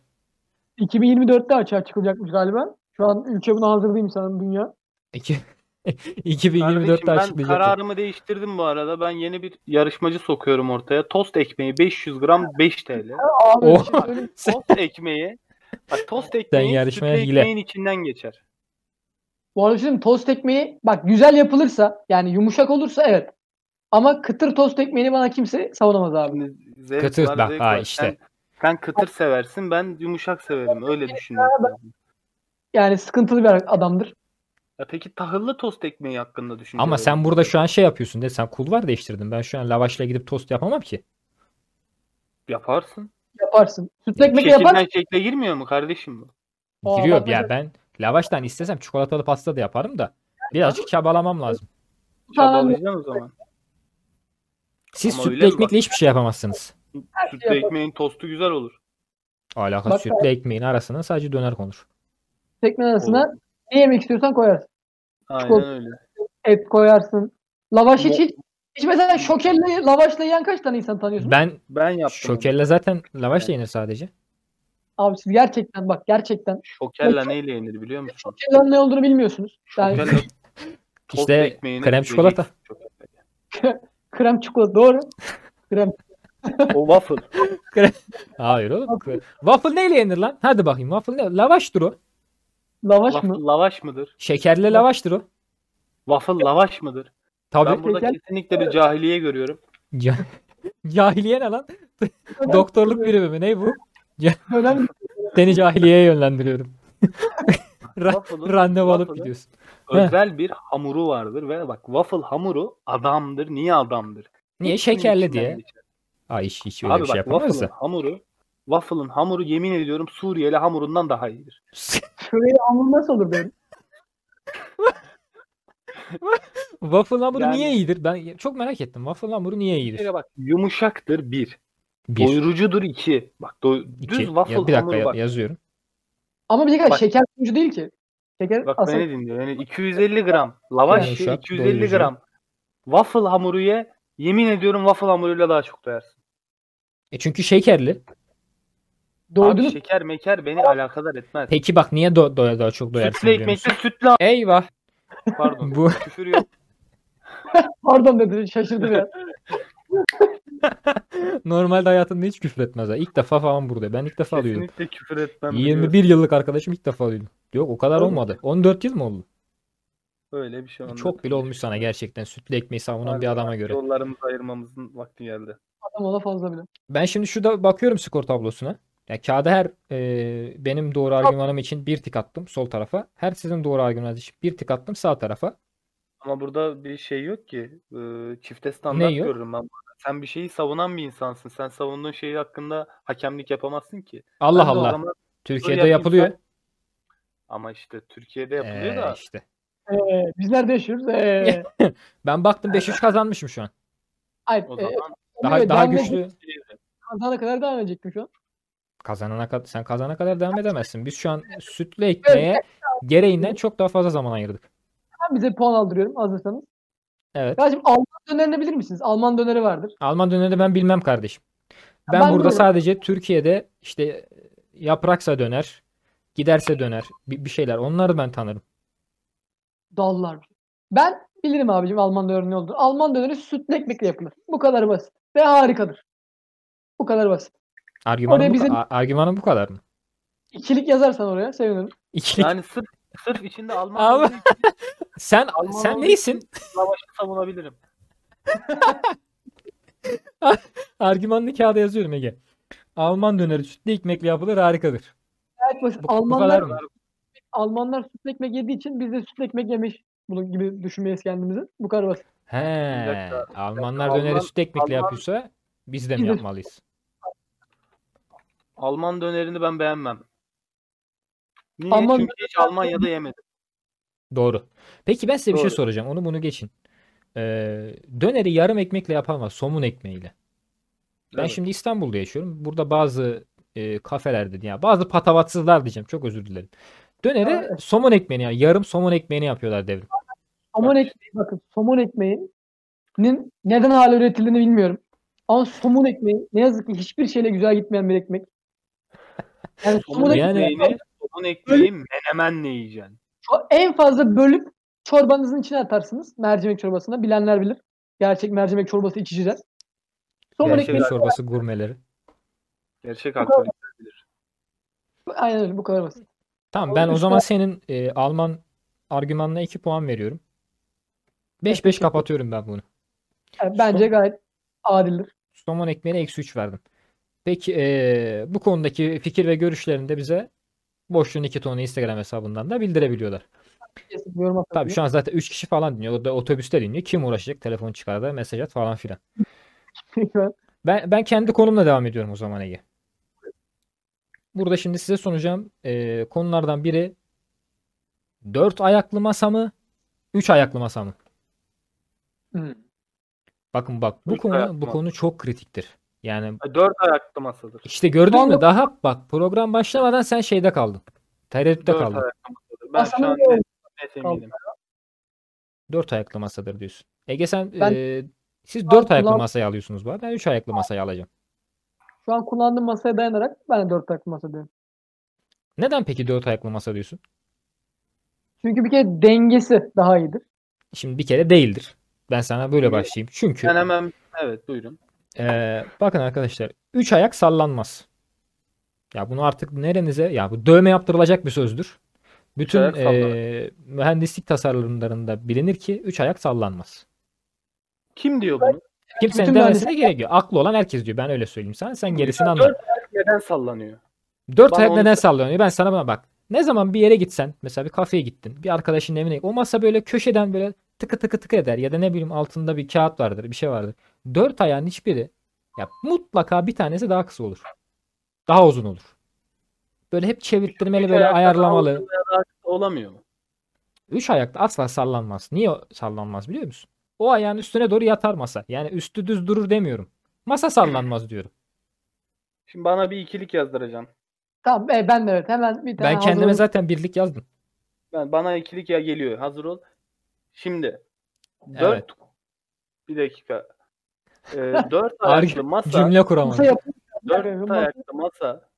Speaker 2: 2024'te açığa çıkılacakmış galiba. Şu an ülke buna hazır değil mi sanırım dünya?
Speaker 1: İki, 2024'te
Speaker 3: Kardeşim ben
Speaker 1: açıklayacaklar.
Speaker 3: kararımı değiştirdim bu arada. Ben yeni bir yarışmacı sokuyorum ortaya. Tost ekmeği 500 gram 5 TL.
Speaker 2: Abi
Speaker 1: Oh.
Speaker 2: şimdi öyle-
Speaker 3: Tost ekmeği Bak tost ekmeği sütlü
Speaker 1: yarışmaya hile.
Speaker 3: ekmeğin içinden geçer.
Speaker 2: Bu arada şimdi tost ekmeği bak güzel yapılırsa yani yumuşak olursa evet. Ama kıtır tost ekmeğini bana kimse savunamaz abi.
Speaker 3: Şimdi zevk
Speaker 1: Kıtır,
Speaker 3: var,
Speaker 1: bak,
Speaker 3: zevk
Speaker 1: ha
Speaker 3: var.
Speaker 1: işte.
Speaker 3: Sen, sen kıtır seversin ben yumuşak severim öyle düşünüyorum.
Speaker 2: Yani sıkıntılı bir adamdır.
Speaker 3: Ya peki tahıllı tost ekmeği hakkında düşüncelerin?
Speaker 1: Ama sen burada şu an şey yapıyorsun de sen kulvar değiştirdin. Ben şu an lavaşla gidip tost yapamam ki.
Speaker 3: yaparsın.
Speaker 2: Yaparsın. Sütlü ekmek
Speaker 3: Şekilden
Speaker 2: yaparsın.
Speaker 3: şekle girmiyor mu kardeşim bu?
Speaker 2: Aa,
Speaker 1: Giriyor
Speaker 2: bak
Speaker 1: ya
Speaker 2: mesela-
Speaker 1: ben lavaştan istesem çikolatalı pasta da yaparım da birazcık çabalamam lazım.
Speaker 2: Tamam.
Speaker 3: Çabalayacaksın o zaman.
Speaker 1: Siz
Speaker 3: Ama
Speaker 1: sütlü
Speaker 3: öyle mi
Speaker 1: ekmekle hiçbir şey yapamazsınız.
Speaker 2: şey
Speaker 3: Sütlü ekmeğin tostu güzel olur.
Speaker 1: Alaka
Speaker 2: Bak-
Speaker 1: sütlü ekmeğin arasına sadece döner konur.
Speaker 2: Ekmeğin arasına
Speaker 3: Olur.
Speaker 2: ne yemek istiyorsan koyarsın.
Speaker 3: Aynen
Speaker 2: Çikolata.
Speaker 3: öyle.
Speaker 2: Et koyarsın. Lavaş hiç
Speaker 3: Mo-
Speaker 2: hiç. Hiç mesela şokelle lavaşla yiyen kaç tane insan tanıyorsun?
Speaker 1: Ben
Speaker 3: Ben yaptım. onu.
Speaker 1: şokerle zaten lavaşla yenir sadece.
Speaker 2: Abi siz gerçekten bak gerçekten
Speaker 3: Şokerle neyle yenir biliyor musun?
Speaker 2: şokellerin ne olduğunu bilmiyorsunuz. Yani
Speaker 3: Şokerle tost
Speaker 1: İşte
Speaker 3: ekmeğini
Speaker 1: krem çikolata.
Speaker 3: yiyeceksin.
Speaker 2: krem çikolata doğru. Krem
Speaker 3: O waffle.
Speaker 1: Hayır oğlum. Waffle neyle yenir lan? Hadi bakayım waffle ne? Lavaştır o.
Speaker 2: lavaş mı?
Speaker 3: waffle lavaş mıdır?
Speaker 1: Şekerli lavaştır o.
Speaker 3: Waffle lavaş mıdır? Ben
Speaker 1: Tabii.
Speaker 3: burada
Speaker 2: Şeker-
Speaker 3: kesinlikle bir cahiliye görüyorum.
Speaker 1: Ca- Cahiliye ne lan? Doktorluk birimi mi? Ne bu?
Speaker 2: Önemli.
Speaker 1: Seni cahiliyeye yönlendiriyorum. Ra-
Speaker 3: Waffle'ın
Speaker 1: Randevu alıp
Speaker 3: waffle'ın
Speaker 1: gidiyorsun.
Speaker 3: özel bir hamuru vardır ve bak waffle hamuru adamdır. Niye adamdır?
Speaker 1: Niye
Speaker 3: Hepsinin
Speaker 1: şekerli
Speaker 3: içinden
Speaker 1: diye?
Speaker 3: geçer.
Speaker 1: Ay hiç, hiç öyle
Speaker 3: Abi
Speaker 1: bir
Speaker 3: bak
Speaker 1: şey yapamayız
Speaker 3: waffle'ın
Speaker 1: da.
Speaker 3: hamuru waffle'ın hamuru yemin ediyorum Suriyeli hamurundan daha iyidir.
Speaker 2: Şurayı hamur nasıl olur böyle?
Speaker 1: Waffle hamuru
Speaker 3: Yani- Şey,
Speaker 1: niye iyidir? Ben çok merak ettim. Waffle hamuru niye
Speaker 3: Bir
Speaker 1: iyidir?
Speaker 3: kere bak yumuşaktır bir.
Speaker 1: Bir,
Speaker 3: Doyurucudur iki. Bak do-
Speaker 1: iki.
Speaker 3: düz waffle
Speaker 1: ya, bir dakika
Speaker 3: hamuru
Speaker 1: ya-
Speaker 3: bak.
Speaker 1: yazıyorum.
Speaker 2: Ama bir dakika
Speaker 3: Bak-
Speaker 2: şeker sunucu değil ki. Şeker
Speaker 3: Bak
Speaker 2: aslında
Speaker 3: beni dinliyor. Yani 250 gram lavaş
Speaker 1: Yani
Speaker 3: ye,
Speaker 1: uşak,
Speaker 3: 250
Speaker 1: doyurucu.
Speaker 3: gram waffle hamuru ye. Yemin ediyorum waffle hamuruyla daha çok doyarsın.
Speaker 1: E çünkü şekerli.
Speaker 3: Abi şey-
Speaker 2: doydunuz.
Speaker 3: şeker meker beni alakadar etmez.
Speaker 1: Peki bak niye do- doya daha çok doyarsın
Speaker 3: Sütlü
Speaker 1: biliyor musun?
Speaker 3: ekmekte sütlü a-
Speaker 1: Eyvah.
Speaker 3: pardon.
Speaker 1: Bu
Speaker 3: Küfür yok.
Speaker 2: Pardon dedi şaşırdım ya.
Speaker 1: normalde hayatında hiç küfür etmez. Ha. İlk defa falan burada. Ben ilk defa duydum.
Speaker 3: Kesinlikle küfür etmem. biliyorum.
Speaker 1: 21 yıllık arkadaşım ilk defa duydum. Yok o kadar
Speaker 3: Oğlum.
Speaker 1: olmadı. 14 yıl mı oldu?
Speaker 3: Öyle bir şey olmadı.
Speaker 1: Çok bile olmuş sana gerçekten sütlü ekmeği savunan bir
Speaker 3: Abi,
Speaker 1: adama göre.
Speaker 3: Yollarımızı ayırmamızın vakti geldi.
Speaker 2: Adam ona fazla bile.
Speaker 1: Ben şimdi şurada bakıyorum skor tablosuna. Ya kağıda her e, benim doğru argümanım için bir tık attım sol tarafa. Her sizin doğru argümanınız için bir tık attım sağ tarafa.
Speaker 3: Ama burada bir şey yok ki. Ee, Çifte standart
Speaker 1: Ne yok?
Speaker 3: görürüm ben. Sen bir şeyi savunan bir insansın. Sen savunduğun şeyi hakkında hakemlik yapamazsın ki.
Speaker 1: Allah
Speaker 3: Ben de o
Speaker 1: Allah.
Speaker 3: zaman-
Speaker 1: Türkiye'de
Speaker 3: yapayım
Speaker 1: yapılıyor.
Speaker 3: Ama işte Türkiye'de yapılıyor
Speaker 1: Ee,
Speaker 3: da
Speaker 1: işte.
Speaker 2: Ee, bizler de yaşıyoruz. Ee,
Speaker 1: Ben baktım 5-3 kazanmışım şu an.
Speaker 2: hayır,
Speaker 3: o
Speaker 2: e,
Speaker 3: zaman
Speaker 1: Daha
Speaker 2: evet,
Speaker 1: daha
Speaker 2: devam edecek-
Speaker 1: güçlü.
Speaker 2: Kazana kadar devam edecektim şu an.
Speaker 1: Kazanana kadar sen kazana kadar devam edemezsin. Biz şu an sütlü
Speaker 2: şey
Speaker 1: ekmeğe gereğinden çok daha fazla zaman ayırdık.
Speaker 2: Ben bize puan aldırıyorum hazırsanız.
Speaker 1: Evet.
Speaker 2: Kardeşim Alman dönerini bilir misiniz? Alman döneri vardır.
Speaker 1: Alman döneri ben bilmem kardeşim. Ben,
Speaker 2: Ben
Speaker 1: burada
Speaker 2: biliyorum.
Speaker 1: sadece Türkiye'de işte e, yapraksa döner, giderse döner bir, bir şeyler. Onları ben tanırım.
Speaker 2: Dallar. Ben bilirim abicim Alman döneri ne olduğunu. Alman döneri sütlü ekmekle yapılır. Bu kadar basit. Ve harikadır. Bu kadar basit.
Speaker 1: Argümanım
Speaker 2: Oraya
Speaker 1: bu,
Speaker 2: bize-
Speaker 1: ka- a- argümanım bu kadar mı?
Speaker 2: İkilik yazarsan oraya sevinirim.
Speaker 1: İkilik.
Speaker 3: yani sırf sırf içinde Alman
Speaker 1: Ama-
Speaker 3: olduğu için
Speaker 1: sen
Speaker 3: Alman
Speaker 1: sen
Speaker 3: olduğu
Speaker 1: neysin?
Speaker 3: için Lavaşı savunabilirim.
Speaker 1: Argümanını kağıda yazıyorum Ege. Alman döneri sütlü ekmekle yapılır harikadır.
Speaker 2: Gayet basit.
Speaker 1: Bu, bu kadar
Speaker 2: Almanlar
Speaker 1: mı?
Speaker 2: Almanlar sütlü ekmek yediği için biz de sütlü ekmek yemiş bunun gibi düşünmeyiz kendimizi. Bu kadar basit.
Speaker 1: He.
Speaker 3: Bir dakika,
Speaker 1: Almanlar
Speaker 3: Alman-
Speaker 1: döneri sütlü ekmekle
Speaker 3: Alman-
Speaker 1: yapıyorsa biz de mi
Speaker 2: Biz de-
Speaker 1: yapmalıyız?
Speaker 3: Alman dönerini ben beğenmem. Niye?
Speaker 2: Alman-
Speaker 3: Çünkü hiç Almanya'da yemedim.
Speaker 1: Doğru. Peki ben size bir şey
Speaker 3: Doğru.
Speaker 1: soracağım. Onu bunu geçin. Ee, döneri yarım ekmekle yapamaz. Somun ekmeğiyle. Ben
Speaker 3: Evet.
Speaker 1: şimdi İstanbul'da yaşıyorum. Burada bazı e, kafelerde ya bazı patavatsızlar diyeceğim. Çok özür dilerim. Döneri somun ekmeğini yani yarım somun ekmeğini yapıyorlar devrim.
Speaker 2: Somon ekmeği bakın somon ekmeğinin neden hala üretildiğini bilmiyorum. Ama somon ekmeği ne yazık ki hiçbir şeyle güzel gitmeyen bir ekmek. Yani somon
Speaker 3: Somun
Speaker 1: Yani-
Speaker 2: ekmeği
Speaker 3: ekmeğini, somun ekmeği menemenle yiyeceksin.
Speaker 2: en fazla bölüp Çorbanızın içine atarsınız. Mercimek çorbasına. Bilenler bilir. Gerçek mercimek çorbası içiciler. Somon
Speaker 1: Gerçek
Speaker 2: ekmeği.
Speaker 1: çorbası gurmeleri.
Speaker 3: Gerçek haklı.
Speaker 2: Aynen öyle bu kadar basit.
Speaker 1: Tamam
Speaker 2: Abi
Speaker 1: ben o
Speaker 2: üç
Speaker 1: zaman senin e, Alman argümanına 2 puan veriyorum. 5-5 kapatıyorum ben bunu.
Speaker 2: Yani bence gayet adildir.
Speaker 1: Somon ekmeğine eksi 3 verdim. Peki e, bu konudaki fikir ve görüşlerini de bize Boşluğun 2 tonu Instagram hesabından da bildirebiliyorlar.
Speaker 2: Kesinlikle yorum atmak
Speaker 1: Tabii
Speaker 2: yok.
Speaker 1: şu an zaten 3 kişi falan dinliyor. O da otobüste dinliyor. Kim uğraşacak? Telefon çıkar da mesaj at falan filan.
Speaker 2: Ben-
Speaker 1: Ben, ben kendi konumla devam ediyorum o zaman Ege. Burada şimdi size sunacağım e, konulardan biri dört ayaklı masa mı? Üç ayaklı masa mı?
Speaker 2: Hmm.
Speaker 1: Bakın bak bu
Speaker 3: Üç
Speaker 1: konu
Speaker 3: ayaklı
Speaker 1: bu
Speaker 3: masa.
Speaker 1: konu çok kritiktir. Yani
Speaker 3: E, Dört ayaklı masadır.
Speaker 1: işte gördün
Speaker 2: Vallahi-
Speaker 1: mü daha bak program başlamadan sen şeyde kaldın. Tereddütte
Speaker 3: Dört
Speaker 1: kaldın.
Speaker 3: ayaklı masadır. Ben şu
Speaker 2: Masanın
Speaker 3: an
Speaker 2: ne olduğunu
Speaker 3: net, net eminim.
Speaker 1: Dört ayaklı masadır diyorsun. Ege sen
Speaker 2: Ben-
Speaker 1: e, siz dört ayaklı
Speaker 2: kullan-
Speaker 1: masayı alıyorsunuz bu. Ben üç ayaklı masayı alacağım.
Speaker 2: Şu an kullandığım masaya dayanarak ben de dört takım masa diyorum.
Speaker 1: Neden peki dört ayaklı masa diyorsun?
Speaker 2: Çünkü bir kere dengesi daha iyidir.
Speaker 1: Şimdi bir kere değildir. Ben sana böyle başlayayım. Çünkü
Speaker 3: Ben hemen evet buyurun.
Speaker 1: Ee, bakın arkadaşlar. Üç ayak sallanmaz. Ya bunu artık nerenize ya bu dövme yaptırılacak bir sözdür. Bütün
Speaker 3: ayak sallanır.
Speaker 1: ee, mühendislik tasarımlarında bilinir ki üç ayak sallanmaz.
Speaker 3: Kim diyor bunu?
Speaker 1: Kimsenin
Speaker 2: bütün
Speaker 1: demesine gerek yok. Aklı olan herkes diyor. Ben öyle söyleyeyim sana. Sen gerisini anla.
Speaker 3: Dört ayak neden sallanıyor?
Speaker 1: Dört
Speaker 3: Bana
Speaker 1: ayak
Speaker 3: onu
Speaker 1: neden
Speaker 3: söyle.
Speaker 1: sallanıyor? Ben sana buna bak. Ne zaman bir yere gitsen mesela bir kafeye gittin. Bir arkadaşın evine o masa böyle köşeden böyle tıkı tıkı tıkı eder ya da ne bileyim altında bir kağıt vardır bir şey vardır. Dört ayağın hiçbiri ya mutlaka bir tanesi daha kısa olur. Daha uzun olur. Böyle hep çevirttirmeli
Speaker 3: Üç
Speaker 1: böyle
Speaker 3: ayaktan
Speaker 1: ayarlamalı.
Speaker 3: altın veya daha kısa Olamıyor mu?
Speaker 1: Üç ayakta asla sallanmaz. Niye o sallanmaz biliyor musun? O ayağın üstüne doğru yatar masa. Yani üstü düz durur demiyorum. Masa sallanmaz diyorum.
Speaker 3: Şimdi bana bir ikilik yazdıracaksın.
Speaker 2: Tamam e, ben de evet hemen bir tane
Speaker 1: Ben kendime
Speaker 2: hazırladım.
Speaker 1: zaten birlik yazdım.
Speaker 3: Ben, bana ikilik ya geliyor. Hazır ol. Şimdi dört bir dakika. Ee, dört
Speaker 1: Arg-
Speaker 3: ayaklı masa
Speaker 1: Cümle
Speaker 2: Masa
Speaker 1: kuramadım.
Speaker 2: yapın.
Speaker 3: dört ayaklı masa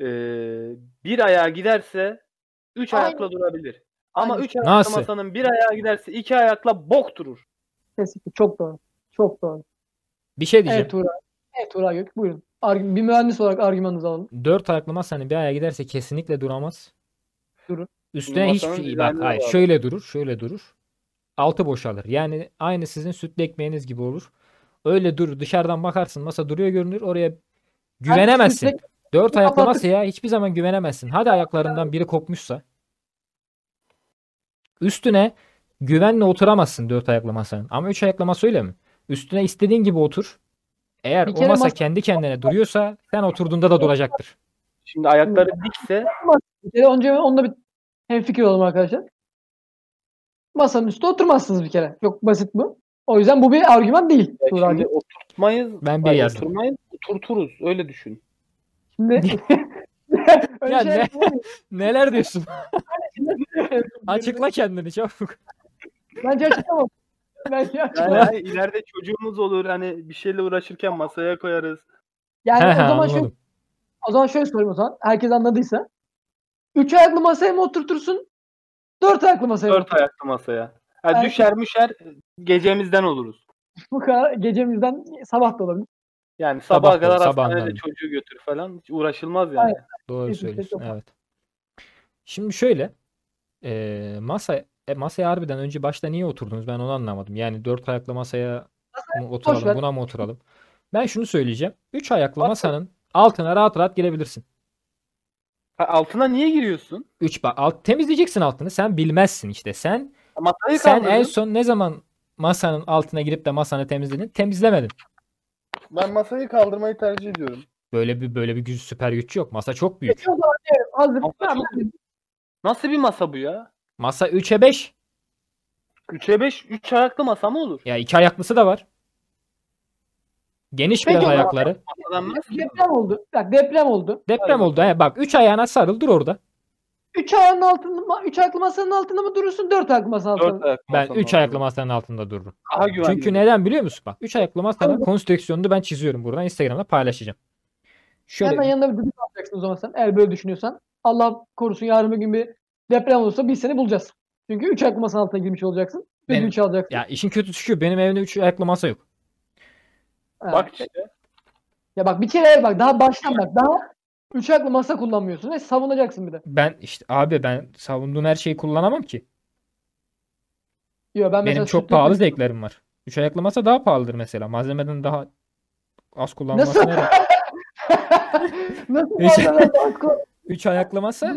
Speaker 3: ee, bir ayağa giderse üç
Speaker 2: Aynen.
Speaker 3: ayakla durabilir. Ama
Speaker 2: Aynen.
Speaker 3: üç ayaklı
Speaker 1: Nasıl?
Speaker 3: masanın bir ayağa giderse iki ayakla bok durur.
Speaker 2: Kesinlikle çok doğru. Çok doğru.
Speaker 1: Bir şey diyeceğim.
Speaker 2: Evet Tuğra. Evet Tuğra Gök buyurun. Argü- bir mühendis olarak argümanınızı alalım.
Speaker 1: Dört ayaklı masanın bir ayağa giderse kesinlikle duramaz.
Speaker 2: Durur.
Speaker 1: Üstüne
Speaker 3: Masanın
Speaker 1: hiçbir şey bak
Speaker 3: dizaynına
Speaker 1: hayır
Speaker 3: bağlı.
Speaker 1: şöyle durur, şöyle durur. Altı boşalır. Yani aynı sizin sütlü ekmeğiniz gibi olur. Öyle durur. Dışarıdan bakarsın masa duruyor görünür. Oraya güvenemezsin.
Speaker 2: sütlü
Speaker 1: Dört
Speaker 2: ekmeği
Speaker 1: ayaklı
Speaker 2: kapatır.
Speaker 1: masaya hiçbir zaman güvenemezsin. Hadi ayaklarından biri kopmuşsa. Üstüne güvenle oturamazsın dört ayaklı masanın. Ama üç ayaklı masa öyle mi? Üstüne istediğin gibi otur. Eğer
Speaker 2: Bir
Speaker 1: o
Speaker 2: kere
Speaker 1: masa
Speaker 2: masa-
Speaker 1: kendi kendine duruyorsa sen oturduğunda da duracaktır.
Speaker 3: Şimdi ayakları dikse
Speaker 2: Bir kere önce onunla bir hemfikir olalım arkadaşlar. Masanın üstü oturmazsınız bir kere. Çok basit bu. O yüzden bu bir argüman değil.
Speaker 3: Ya
Speaker 2: Tuğra
Speaker 3: Şimdi
Speaker 2: Gök.
Speaker 3: oturtmayız.
Speaker 1: Ben bir
Speaker 3: Ay,
Speaker 1: yazdım.
Speaker 3: Oturmayız, oturturuz. Öyle düşün.
Speaker 2: Şimdi Öyle
Speaker 1: Ya
Speaker 2: şeyler
Speaker 1: ne?
Speaker 2: yapılmıyor.
Speaker 1: Neler diyorsun? Açıkla kendini çabuk.
Speaker 2: Bence açıklamam. Bence
Speaker 3: Yani,
Speaker 2: açıklamam.
Speaker 3: hani ileride çocuğumuz olur. Hani bir şeyle uğraşırken masaya koyarız.
Speaker 2: Yani
Speaker 1: He he,
Speaker 2: o zaman şöyle
Speaker 1: anladım.
Speaker 2: O zaman şöyle sorayım o zaman. Herkes anladıysa. Üç ayaklı masaya mı oturtursun? Dört ayaklı masaya mı?
Speaker 3: Dört ayaklı masaya. Ha,
Speaker 2: Belki-
Speaker 3: düşer müşer gecemizden oluruz.
Speaker 2: Bu kadar gecemizden sabah da olabilir.
Speaker 3: Yani
Speaker 1: Sabah
Speaker 3: sabaha
Speaker 1: olur,
Speaker 3: kadar
Speaker 1: sabahından.
Speaker 3: hastanede çocuğu götür falan. Hiç uğraşılmaz yani.
Speaker 2: Aynen.
Speaker 1: Doğru
Speaker 2: Kesinlikle
Speaker 1: söylüyorsun.
Speaker 2: çok
Speaker 1: Evet. Şimdi şöyle e, masa e, masaya harbiden önce başta niye oturdunuz ben onu anlamadım. Yani dört ayaklı masaya mı oturalım
Speaker 2: ver.
Speaker 1: buna mı oturalım? Ben şunu söyleyeceğim. Üç ayaklı masanın altına rahat rahat girebilirsin.
Speaker 3: Ha, altına niye giriyorsun?
Speaker 1: Üç ba- alt, temizleyeceksin altını sen bilmezsin işte. Sen
Speaker 3: Ha, Masayı
Speaker 1: sen
Speaker 3: kaldırdın.
Speaker 1: en son ne zaman masanın altına girip de masanı temizledin? Temizlemedin.
Speaker 3: Ben masayı kaldırmayı tercih ediyorum.
Speaker 1: Böyle bir böyle bir güç süper güç yok. Masa çok büyük.
Speaker 2: Peki o zaman diyelim, hazır.
Speaker 3: Ama
Speaker 2: Tamam,
Speaker 3: çok- Nasıl bir masa bu ya?
Speaker 1: Masa 3'e 5.
Speaker 3: 3'e 5, 3 ayaklı masa mı olur?
Speaker 1: Ya iki ayaklısı da var. Geniş
Speaker 2: Peki
Speaker 1: biraz
Speaker 2: o zaman-
Speaker 1: ayakları.
Speaker 3: Masadan nasıl?
Speaker 2: deprem oldu. Bak deprem oldu.
Speaker 1: Deprem oldu. He, bak 3 ayağına sarıl dur orada.
Speaker 2: Üç ayağın altında, üç ayaklı masanın altında mı durursun? Dört ayaklı masanın altında
Speaker 3: Dört
Speaker 2: mı?
Speaker 3: ayaklı
Speaker 1: Ben
Speaker 3: masanın
Speaker 1: 3 ayaklı masanın altında dururum.
Speaker 3: Daha güvenli.
Speaker 1: Çünkü neden biliyor musun? Bak 3 ayaklı masanın
Speaker 2: Tabii.
Speaker 1: konstrüksiyonunu ben çiziyorum buradan Instagram'da paylaşacağım.
Speaker 2: Hemen
Speaker 1: Şöyle
Speaker 2: yanına bir düdük alacaksın o zaman sen. Eğer böyle düşünüyorsan. Allah korusun yarın bir gün bir deprem olursa biz seni bulacağız. Çünkü üç aklı masanın altına girmiş olacaksın. Ve
Speaker 1: Benim-
Speaker 2: düdüğü çalacaksın.
Speaker 1: Ya işin kötüsü şu benim evimde 3 ayaklı masa yok.
Speaker 2: Ha.
Speaker 3: Bak işte.
Speaker 2: Ya bak bir kere bak daha baştan bak daha üç ayaklı masa kullanmıyorsun ve savunacaksın bir de.
Speaker 1: Ben işte abi ben savunduğum her şeyi kullanamam ki.
Speaker 2: Diyor ben
Speaker 1: Benim
Speaker 2: mesela
Speaker 1: çok
Speaker 2: sütlü-
Speaker 1: pahalı zevklerim var. Üç ayaklı masa daha pahalıdır mesela. Malzemeden daha az kullanılması.
Speaker 2: Nasıl?
Speaker 1: neden?
Speaker 2: Nasıl
Speaker 1: Hiç-
Speaker 2: malzemeden daha az kullan-
Speaker 1: Üç ayaklı masa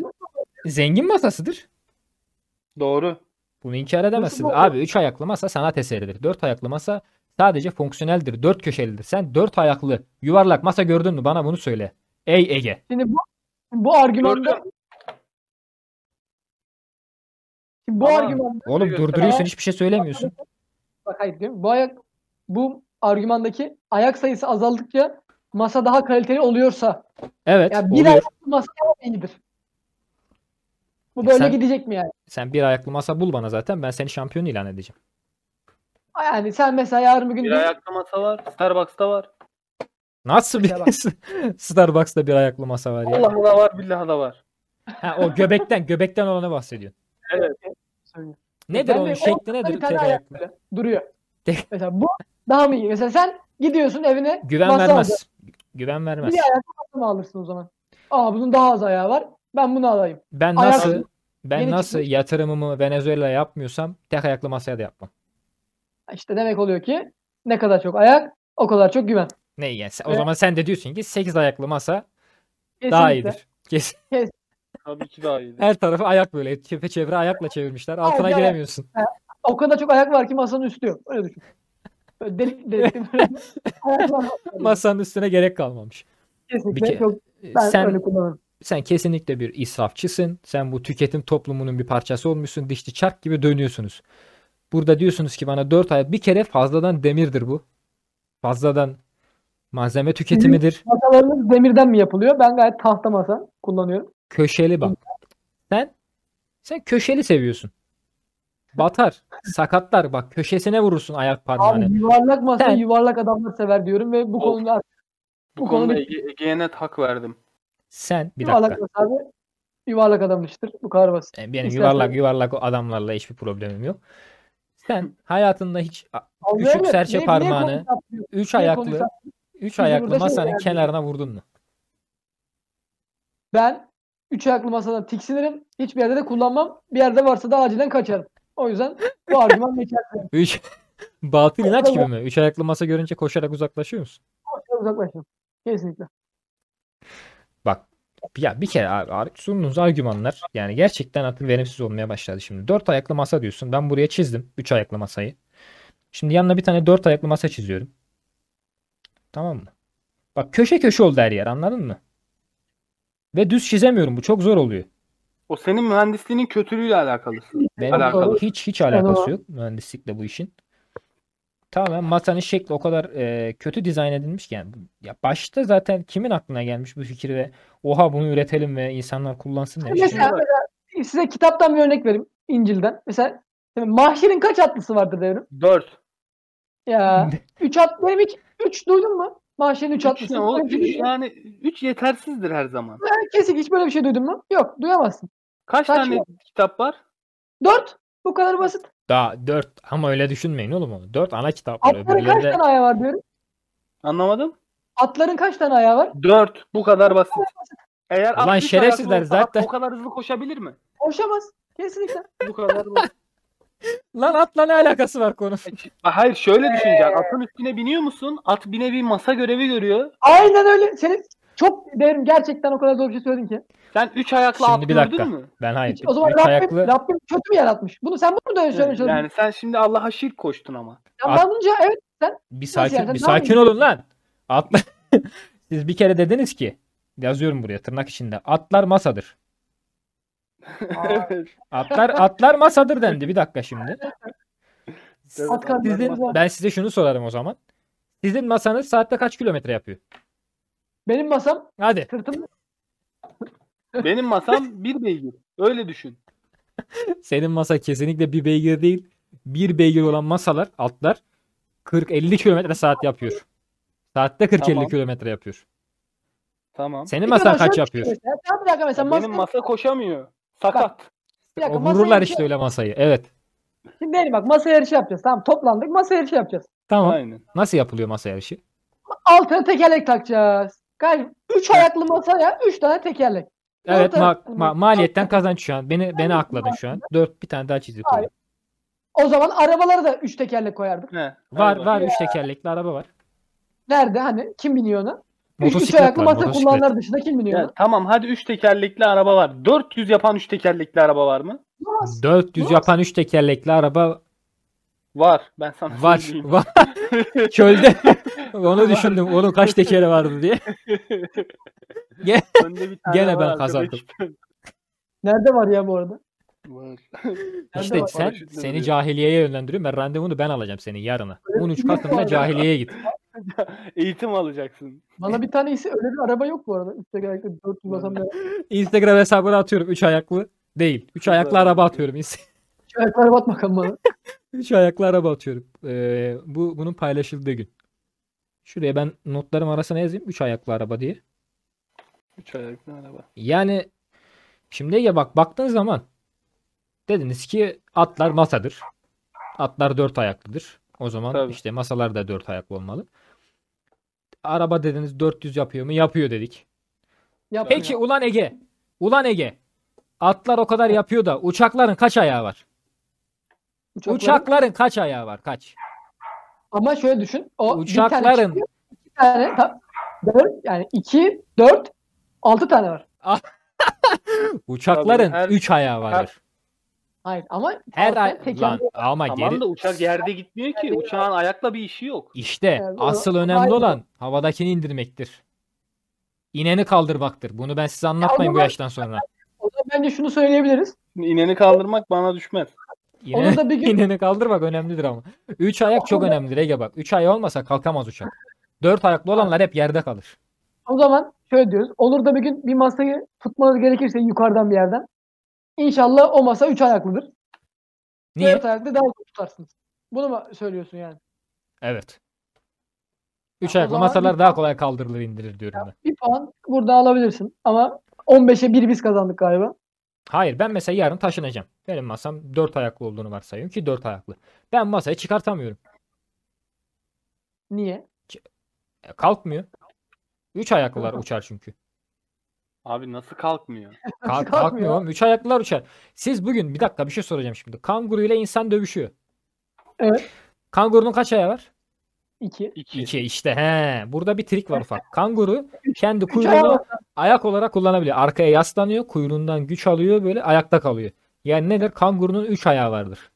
Speaker 1: zengin masasıdır.
Speaker 3: Doğru.
Speaker 1: Bunu inkar edemezsin.
Speaker 2: bu-
Speaker 1: Abi üç ayaklı masa sanat eseridir. Dört ayaklı masa sadece fonksiyoneldir. Dört köşelidir. Sen dört ayaklı yuvarlak masa gördün mü? Bana bunu söyle. Ey Ege.
Speaker 2: Şimdi bu bu argümanda Şimdi bu
Speaker 3: Ama-
Speaker 2: argümanda
Speaker 1: Oğlum
Speaker 3: Evet,
Speaker 1: durduruyorsun
Speaker 2: tamam.
Speaker 1: hiçbir şey söylemiyorsun.
Speaker 2: bak hayır diyorum. Bu ayak bu argümandaki ayak sayısı azaldıkça masa daha kaliteli oluyorsa
Speaker 1: Evet
Speaker 2: ya bir
Speaker 1: oluyor.
Speaker 2: ayaklı masa daha iyidir. Bu
Speaker 1: Ya
Speaker 2: böyle
Speaker 1: E sen-
Speaker 2: gidecek mi yani?
Speaker 1: Sen bir ayaklı masa bul bana zaten. Ben seni şampiyon ilan edeceğim.
Speaker 2: Yani sen mesela yarın bir gün
Speaker 3: Bir
Speaker 2: diyorsun-
Speaker 3: ayaklı masa var. Starbucks'ta var.
Speaker 1: Nasıl bir
Speaker 2: Mesela bak.
Speaker 1: Starbucks'ta bir ayaklı masa var ya.
Speaker 3: Allah'a da var. Billahi da var.
Speaker 1: Ha, o göbekten göbekten olanı bahsediyor.
Speaker 2: Söylüyor.
Speaker 1: Nedir
Speaker 2: Ben
Speaker 1: onun
Speaker 2: de-
Speaker 1: şekli
Speaker 2: Bir
Speaker 1: nedir
Speaker 2: tane
Speaker 1: tek
Speaker 2: ayak
Speaker 1: ayaklı?
Speaker 2: böyle duruyor.
Speaker 1: Tek-
Speaker 2: Mesela bu daha mı iyi? Mesela sen gidiyorsun evine
Speaker 1: Güven
Speaker 2: masa alacaksın.
Speaker 1: vermez. Güven vermez.
Speaker 2: Bir ayaklı masa mı alırsın o zaman? Aa bunun daha az ayağı var. Ben bunu alayım.
Speaker 1: Ben
Speaker 2: Ayak-
Speaker 1: nasıl ben
Speaker 2: Yeni
Speaker 1: nasıl
Speaker 2: çıkmış.
Speaker 1: yatırımımı Venezuela'ya yapmıyorsam tek ayaklı masaya da yapmam.
Speaker 2: İşte demek oluyor ki ne kadar çok ayak o kadar çok güven.
Speaker 1: Ne yani sen- o
Speaker 2: Ve-
Speaker 1: zaman sen de diyorsun ki 8 ayaklı masa daha
Speaker 2: Kesinlikle.
Speaker 1: iyidir. Kesin.
Speaker 3: Tabii ki daha iyi.
Speaker 1: Her tarafı ayak böyle çepeçevre ayakla çevirmişler. Altına
Speaker 2: Aynen.
Speaker 1: giremiyorsun.
Speaker 2: O kadar çok ayak var ki masanın üstü yok. Öyle düşün. Böyle delik delik. böyle ayak var.
Speaker 1: Masanın üstüne gerek kalmamış.
Speaker 2: Kesinlikle
Speaker 1: Bir ke-
Speaker 2: çok ben
Speaker 1: sen
Speaker 2: öyle kullanırım.
Speaker 1: sen kesinlikle bir israfçısın. Sen bu tüketim toplumunun bir parçası olmuşsun. Dişli çark gibi dönüyorsunuz. Burada diyorsunuz ki bana 4 ay bir kere fazladan demirdir bu. Fazladan malzeme tüketimidir.
Speaker 2: Masalarınız demirden mi yapılıyor? Ben gayet tahta masa kullanıyorum.
Speaker 1: Köşeli bak. Sen sen köşeli seviyorsun. Batar, sakatlar bak köşesine vurursun ayak
Speaker 2: Abi
Speaker 1: parmağını.
Speaker 2: yuvarlak masayı
Speaker 1: Sen-
Speaker 2: yuvarlak adamlar sever diyorum ve bu
Speaker 3: Of.
Speaker 2: konuda
Speaker 3: Bu
Speaker 2: konuda-
Speaker 3: konuda Ege- Ege'ye net hak verdim.
Speaker 1: Sen bir dakika.
Speaker 2: yuvarlak masa abi yuvarlak adam iştir. Bu kadar basit.
Speaker 1: E, Benim
Speaker 2: İstersen-
Speaker 1: yuvarlak yuvarlak adamlarla hiçbir problemim yok. Sen hayatında hiç a-
Speaker 2: Anlıyor musun?
Speaker 1: serçe
Speaker 2: Niye- niye
Speaker 1: parmağını-
Speaker 2: konuyu tartışıyorsun?
Speaker 1: üç
Speaker 2: Niye
Speaker 1: ayaklı
Speaker 2: konuyu
Speaker 1: üç
Speaker 2: Bizi
Speaker 1: ayaklı
Speaker 2: Şey burada şey
Speaker 1: masanın
Speaker 2: verdi.
Speaker 1: kenarına vurdun mu?
Speaker 2: Ben üç ayaklı masadan tiksinirim. Hiçbir yerde de kullanmam. Bir yerde varsa da acilen kaçarım. O yüzden bu argüman geçerli.
Speaker 1: Üç batıl inanç
Speaker 2: Tamam.
Speaker 1: gibi mi? Üç ayaklı masa görünce koşarak uzaklaşıyor musun?
Speaker 2: Uzaklaşın. Kesinlikle.
Speaker 1: Ya bir kere abi, abi sunduğunuz argümanlar yani gerçekten artık verimsiz olmaya başladı şimdi. Dört ayaklı masa diyorsun. Ben buraya çizdim üç ayaklı masayı. Şimdi yanına bir tane dört ayaklı masa çiziyorum. Tamam mı? Bak köşe köşe oldu her yer anladın mı? Ve düz çizemiyorum. Bu çok zor oluyor.
Speaker 3: O senin mühendisliğinin kötülüğüyle alakalısın.
Speaker 1: Benim
Speaker 3: Alakalı.
Speaker 1: hiç hiç alakası
Speaker 2: Tamam.
Speaker 1: yok mühendislikle bu işin. Tamamen masanın şekli o kadar e, kötü dizayn edilmiş ki yani ya başta zaten kimin aklına gelmiş bu fikir ve oha bunu üretelim ve insanlar kullansın demiş.
Speaker 2: Mesela,
Speaker 3: bak.
Speaker 2: mesela size kitaptan bir örnek vereyim. İncil'den. Mesela şimdi mahşerin kaç atlısı vardır devrim?
Speaker 3: Dört.
Speaker 2: Ya üç at benim hiç üç duydun mu? Mahşerin üç
Speaker 3: Üç
Speaker 2: atlısı.
Speaker 3: ne oğlum?
Speaker 2: Hiç-
Speaker 3: Üç yani üç yetersizdir her zaman.
Speaker 2: Kesin hiç böyle bir şey duydun mu? Yok duyamazsın.
Speaker 3: Kaç
Speaker 2: Saçma.
Speaker 3: tane kitap var?
Speaker 2: Dört. Bu kadar basit.
Speaker 1: Daha dört ama öyle düşünmeyin oğlum onu. Dört ana kitap var
Speaker 2: Atların kaç
Speaker 1: öbürlerinde.
Speaker 2: tane ayağı var diyorum.
Speaker 3: Anlamadım.
Speaker 2: Atların kaç tane ayağı var?
Speaker 3: Dört. Bu kadar basit. Eğer
Speaker 1: Ulan
Speaker 3: 60
Speaker 1: şerefsizler
Speaker 3: ayaklı olsa
Speaker 1: zaten.
Speaker 3: O kadar hızlı koşabilir mi?
Speaker 2: Koşamaz. Kesinlikle.
Speaker 3: Bu kadar basit.
Speaker 1: Lan atla ne alakası var konu?
Speaker 3: Hayır şöyle düşüneceksin. Atın üstüne biniyor musun? At bine bir masa görevi görüyor.
Speaker 2: Aynen öyle. Senin çok devrim gerçekten o kadar zor bir şey söyledin ki.
Speaker 3: Sen üç ayaklı
Speaker 1: Şimdi
Speaker 3: at
Speaker 1: bir
Speaker 3: gördün
Speaker 1: dakika.
Speaker 3: mü?
Speaker 1: Ben hayır.
Speaker 2: Hiç- o zaman
Speaker 1: Üç
Speaker 2: Rabbim,
Speaker 1: ayaklı
Speaker 2: Rabbim kötü mü yaratmış? Bunu sen bunu da öyle söylemiş oldun.
Speaker 3: Yani sen şimdi Allah'a şirk koştun ama.
Speaker 2: Yamanınca evet
Speaker 1: bir sakin
Speaker 2: yani?
Speaker 1: bir
Speaker 2: Daha mı
Speaker 1: sakin olun lan. Atla. Siz bir kere dediniz ki yazıyorum buraya tırnak içinde. Atlar masadır.
Speaker 3: Evet.
Speaker 1: Atlar atlar masadır dendi. Bir dakika şimdi.
Speaker 2: at kardeşim.
Speaker 1: Sizin, ben size şunu sorarım o zaman. Sizin masanız saatte kaç kilometre yapıyor?
Speaker 2: Benim masam
Speaker 1: Hadi.
Speaker 2: sırtım
Speaker 3: Benim masam bir beygir. Öyle düşün.
Speaker 1: Senin masa kesinlikle bir beygir değil. Bir beygir olan masalar, atlar 40-50 kilometre saat yapıyor. Saatte 40-50
Speaker 3: Tamam.
Speaker 1: kilometre yapıyor.
Speaker 3: Tamam.
Speaker 1: Senin masan
Speaker 2: Bir de
Speaker 1: kaç
Speaker 2: şöyle
Speaker 1: yapıyor?
Speaker 2: bir şey Mesela, sen bir dakika mesela
Speaker 3: Benim
Speaker 2: masanın
Speaker 3: masa koşamıyor. Sakat.
Speaker 2: Bir
Speaker 1: O
Speaker 2: dakika, masaya
Speaker 1: vururlar
Speaker 2: bir şey-
Speaker 1: işte öyle masayı. Evet.
Speaker 2: Şimdi değil bak masa yarışı yapacağız. Tamam toplandık masa yarışı yapacağız.
Speaker 1: Tamam.
Speaker 3: Aynen.
Speaker 1: Nasıl yapılıyor masa yarışı?
Speaker 2: Altına tekerlek takacağız. Kardeşim 3 ayaklı masaya 3 tane tekerlek.
Speaker 1: Evet
Speaker 2: Orada-
Speaker 1: ma- ma- maliyetten kazanç şu an. Beni beni akladın şu an. Dört bir tane daha çizgi koy.
Speaker 2: Hayır. O zaman arabalara da 3 tekerlek koyardık.
Speaker 3: He,
Speaker 1: Var
Speaker 3: aynen.
Speaker 1: var üç tekerlekli araba var.
Speaker 2: Nerede hani kim biniyor ona? 3 üç
Speaker 1: Motosiklet
Speaker 2: ayaklı
Speaker 1: var.
Speaker 2: masa
Speaker 1: Motosiklet.
Speaker 2: kullananlar dışında kim biniyor ona?
Speaker 3: Ya, tamam hadi 3 tekerlekli araba var. 400 yapan 3 tekerlekli araba var mı?
Speaker 2: Olmaz.
Speaker 1: 400
Speaker 2: Nasıl?
Speaker 1: yapan üç tekerlekli araba
Speaker 3: Var. Ben sana
Speaker 1: var.
Speaker 3: söyleyeyim.
Speaker 1: var. Çölde. Onu düşündüm. Onun kaç tekeri vardı diye.
Speaker 3: Önde bir tane
Speaker 1: Gene
Speaker 3: var
Speaker 1: ben kazandım.
Speaker 3: arkadaş.
Speaker 2: Nerede var ya bu arada?
Speaker 3: Var.
Speaker 1: İşte
Speaker 2: var.
Speaker 1: sen
Speaker 3: Paraşütle
Speaker 1: seni
Speaker 3: vuruyor.
Speaker 1: cahiliyeye yönlendiriyorum. Ben randevunu ben alacağım senin yarına. 13
Speaker 2: yok
Speaker 1: Kasım'da
Speaker 2: abi.
Speaker 1: cahiliyeye git.
Speaker 3: Eğitim alacaksın.
Speaker 2: Bana bir tanesi öyle bir araba yok bu arada. 3 tekerlekli 4 masanın
Speaker 1: Instagram hesabına atıyorum. Üç ayaklı değil. Üç ayaklı araba atıyorum.
Speaker 2: ayakları bat bakalım bana.
Speaker 1: Üç ayaklı araba atıyorum. Ee, bu bunun paylaşıldığı gün. Şuraya ben notlarım arasına yazayım. Üç ayaklı araba diye.
Speaker 3: 3 ayaklı araba.
Speaker 1: Yani şimdi ya bak baktığın zaman dediniz ki atlar masadır. Atlar dört ayaklıdır. O zaman
Speaker 3: Tabii.
Speaker 1: işte masalar da dört ayaklı olmalı. Araba dediniz 400 yapıyor mu? Yapıyor dedik.
Speaker 2: Yap
Speaker 1: Peki
Speaker 2: ya.
Speaker 1: ulan Ege. Ulan Ege. Atlar o kadar yapıyor da uçakların kaç ayağı var?
Speaker 2: Uçakların-
Speaker 1: Uçakların kaç ayağı var? Kaç?
Speaker 2: Ama şöyle düşün. O bir tane
Speaker 1: Uçakların
Speaker 2: çıkıyor, iki tane tam, dört, yani 2 4 6 tane var.
Speaker 1: uçakların
Speaker 3: her-
Speaker 1: 3 ayağı vardır.
Speaker 2: Hayır ama
Speaker 1: Her,
Speaker 2: altı
Speaker 1: ay
Speaker 2: tekerlek-
Speaker 1: lan ama
Speaker 3: Tamam
Speaker 1: geri
Speaker 3: da uçak yerde gitmiyor ki. Uçağın ayakla bir işi yok.
Speaker 1: İşte
Speaker 2: Yani o-
Speaker 1: asıl önemli
Speaker 2: ayrı.
Speaker 1: olan havadakini indirmektir. İneni kaldırmaktır. Bunu ben size anlatmayayım bu
Speaker 2: zaman-
Speaker 1: yaştan sonra.
Speaker 2: O zaman bence şunu söyleyebiliriz.
Speaker 3: İneni kaldırmak bana düşmez.
Speaker 1: İne,
Speaker 2: Onu da bir gün
Speaker 1: ineni kaldırmak önemlidir ama. Üç ayak çok önemlidir Ege bak. Üç ay olmasa kalkamaz uçak. Dört ayaklı olanlar hep yerde kalır.
Speaker 2: o zaman şöyle diyoruz. Olur da bir gün bir masayı tutmanız gerekirse yukarıdan bir yerden. İnşallah o masa 3 ayaklıdır.
Speaker 1: Niye?
Speaker 2: Dört ayaklı daha iyi tutarsınız. Bunu mu söylüyorsun yani?
Speaker 1: Evet. Üç
Speaker 2: Ya o
Speaker 1: ayaklı
Speaker 2: zaman-
Speaker 1: masalar daha kolay kaldırılır indirilir diyorum ben.
Speaker 2: Bir puan burada alabilirsin ama 15'e 1 biz kazandık galiba.
Speaker 1: Hayır ben mesela yarın taşınacağım. Benim masam dört ayaklı olduğunu varsayıyorum ki dört ayaklı. Ben masayı çıkartamıyorum.
Speaker 2: Niye?
Speaker 1: E, Kalkmıyor. Üç ayaklılar uçar çünkü.
Speaker 3: Abi nasıl kalkmıyor?
Speaker 1: Kalk,
Speaker 2: Kalkmıyor.
Speaker 1: kalkmıyor oğlum. Üç ayaklılar uçar. Siz bugün bir dakika bir şey soracağım şimdi. Kanguru ile insan dövüşüyor.
Speaker 2: Evet.
Speaker 1: Kangurunun kaç ayağı var?
Speaker 2: 2.
Speaker 3: 2.
Speaker 1: İki işte. He. Burada bir trik var ufak. Kanguru kendi
Speaker 2: ayağı
Speaker 1: kuyruğunu
Speaker 2: var.
Speaker 1: ayak olarak kullanabiliyor. Arkaya yaslanıyor. Kuyruğundan güç alıyor. Böyle ayakta kalıyor. Yani nedir? Kangurunun üç ayağı vardır.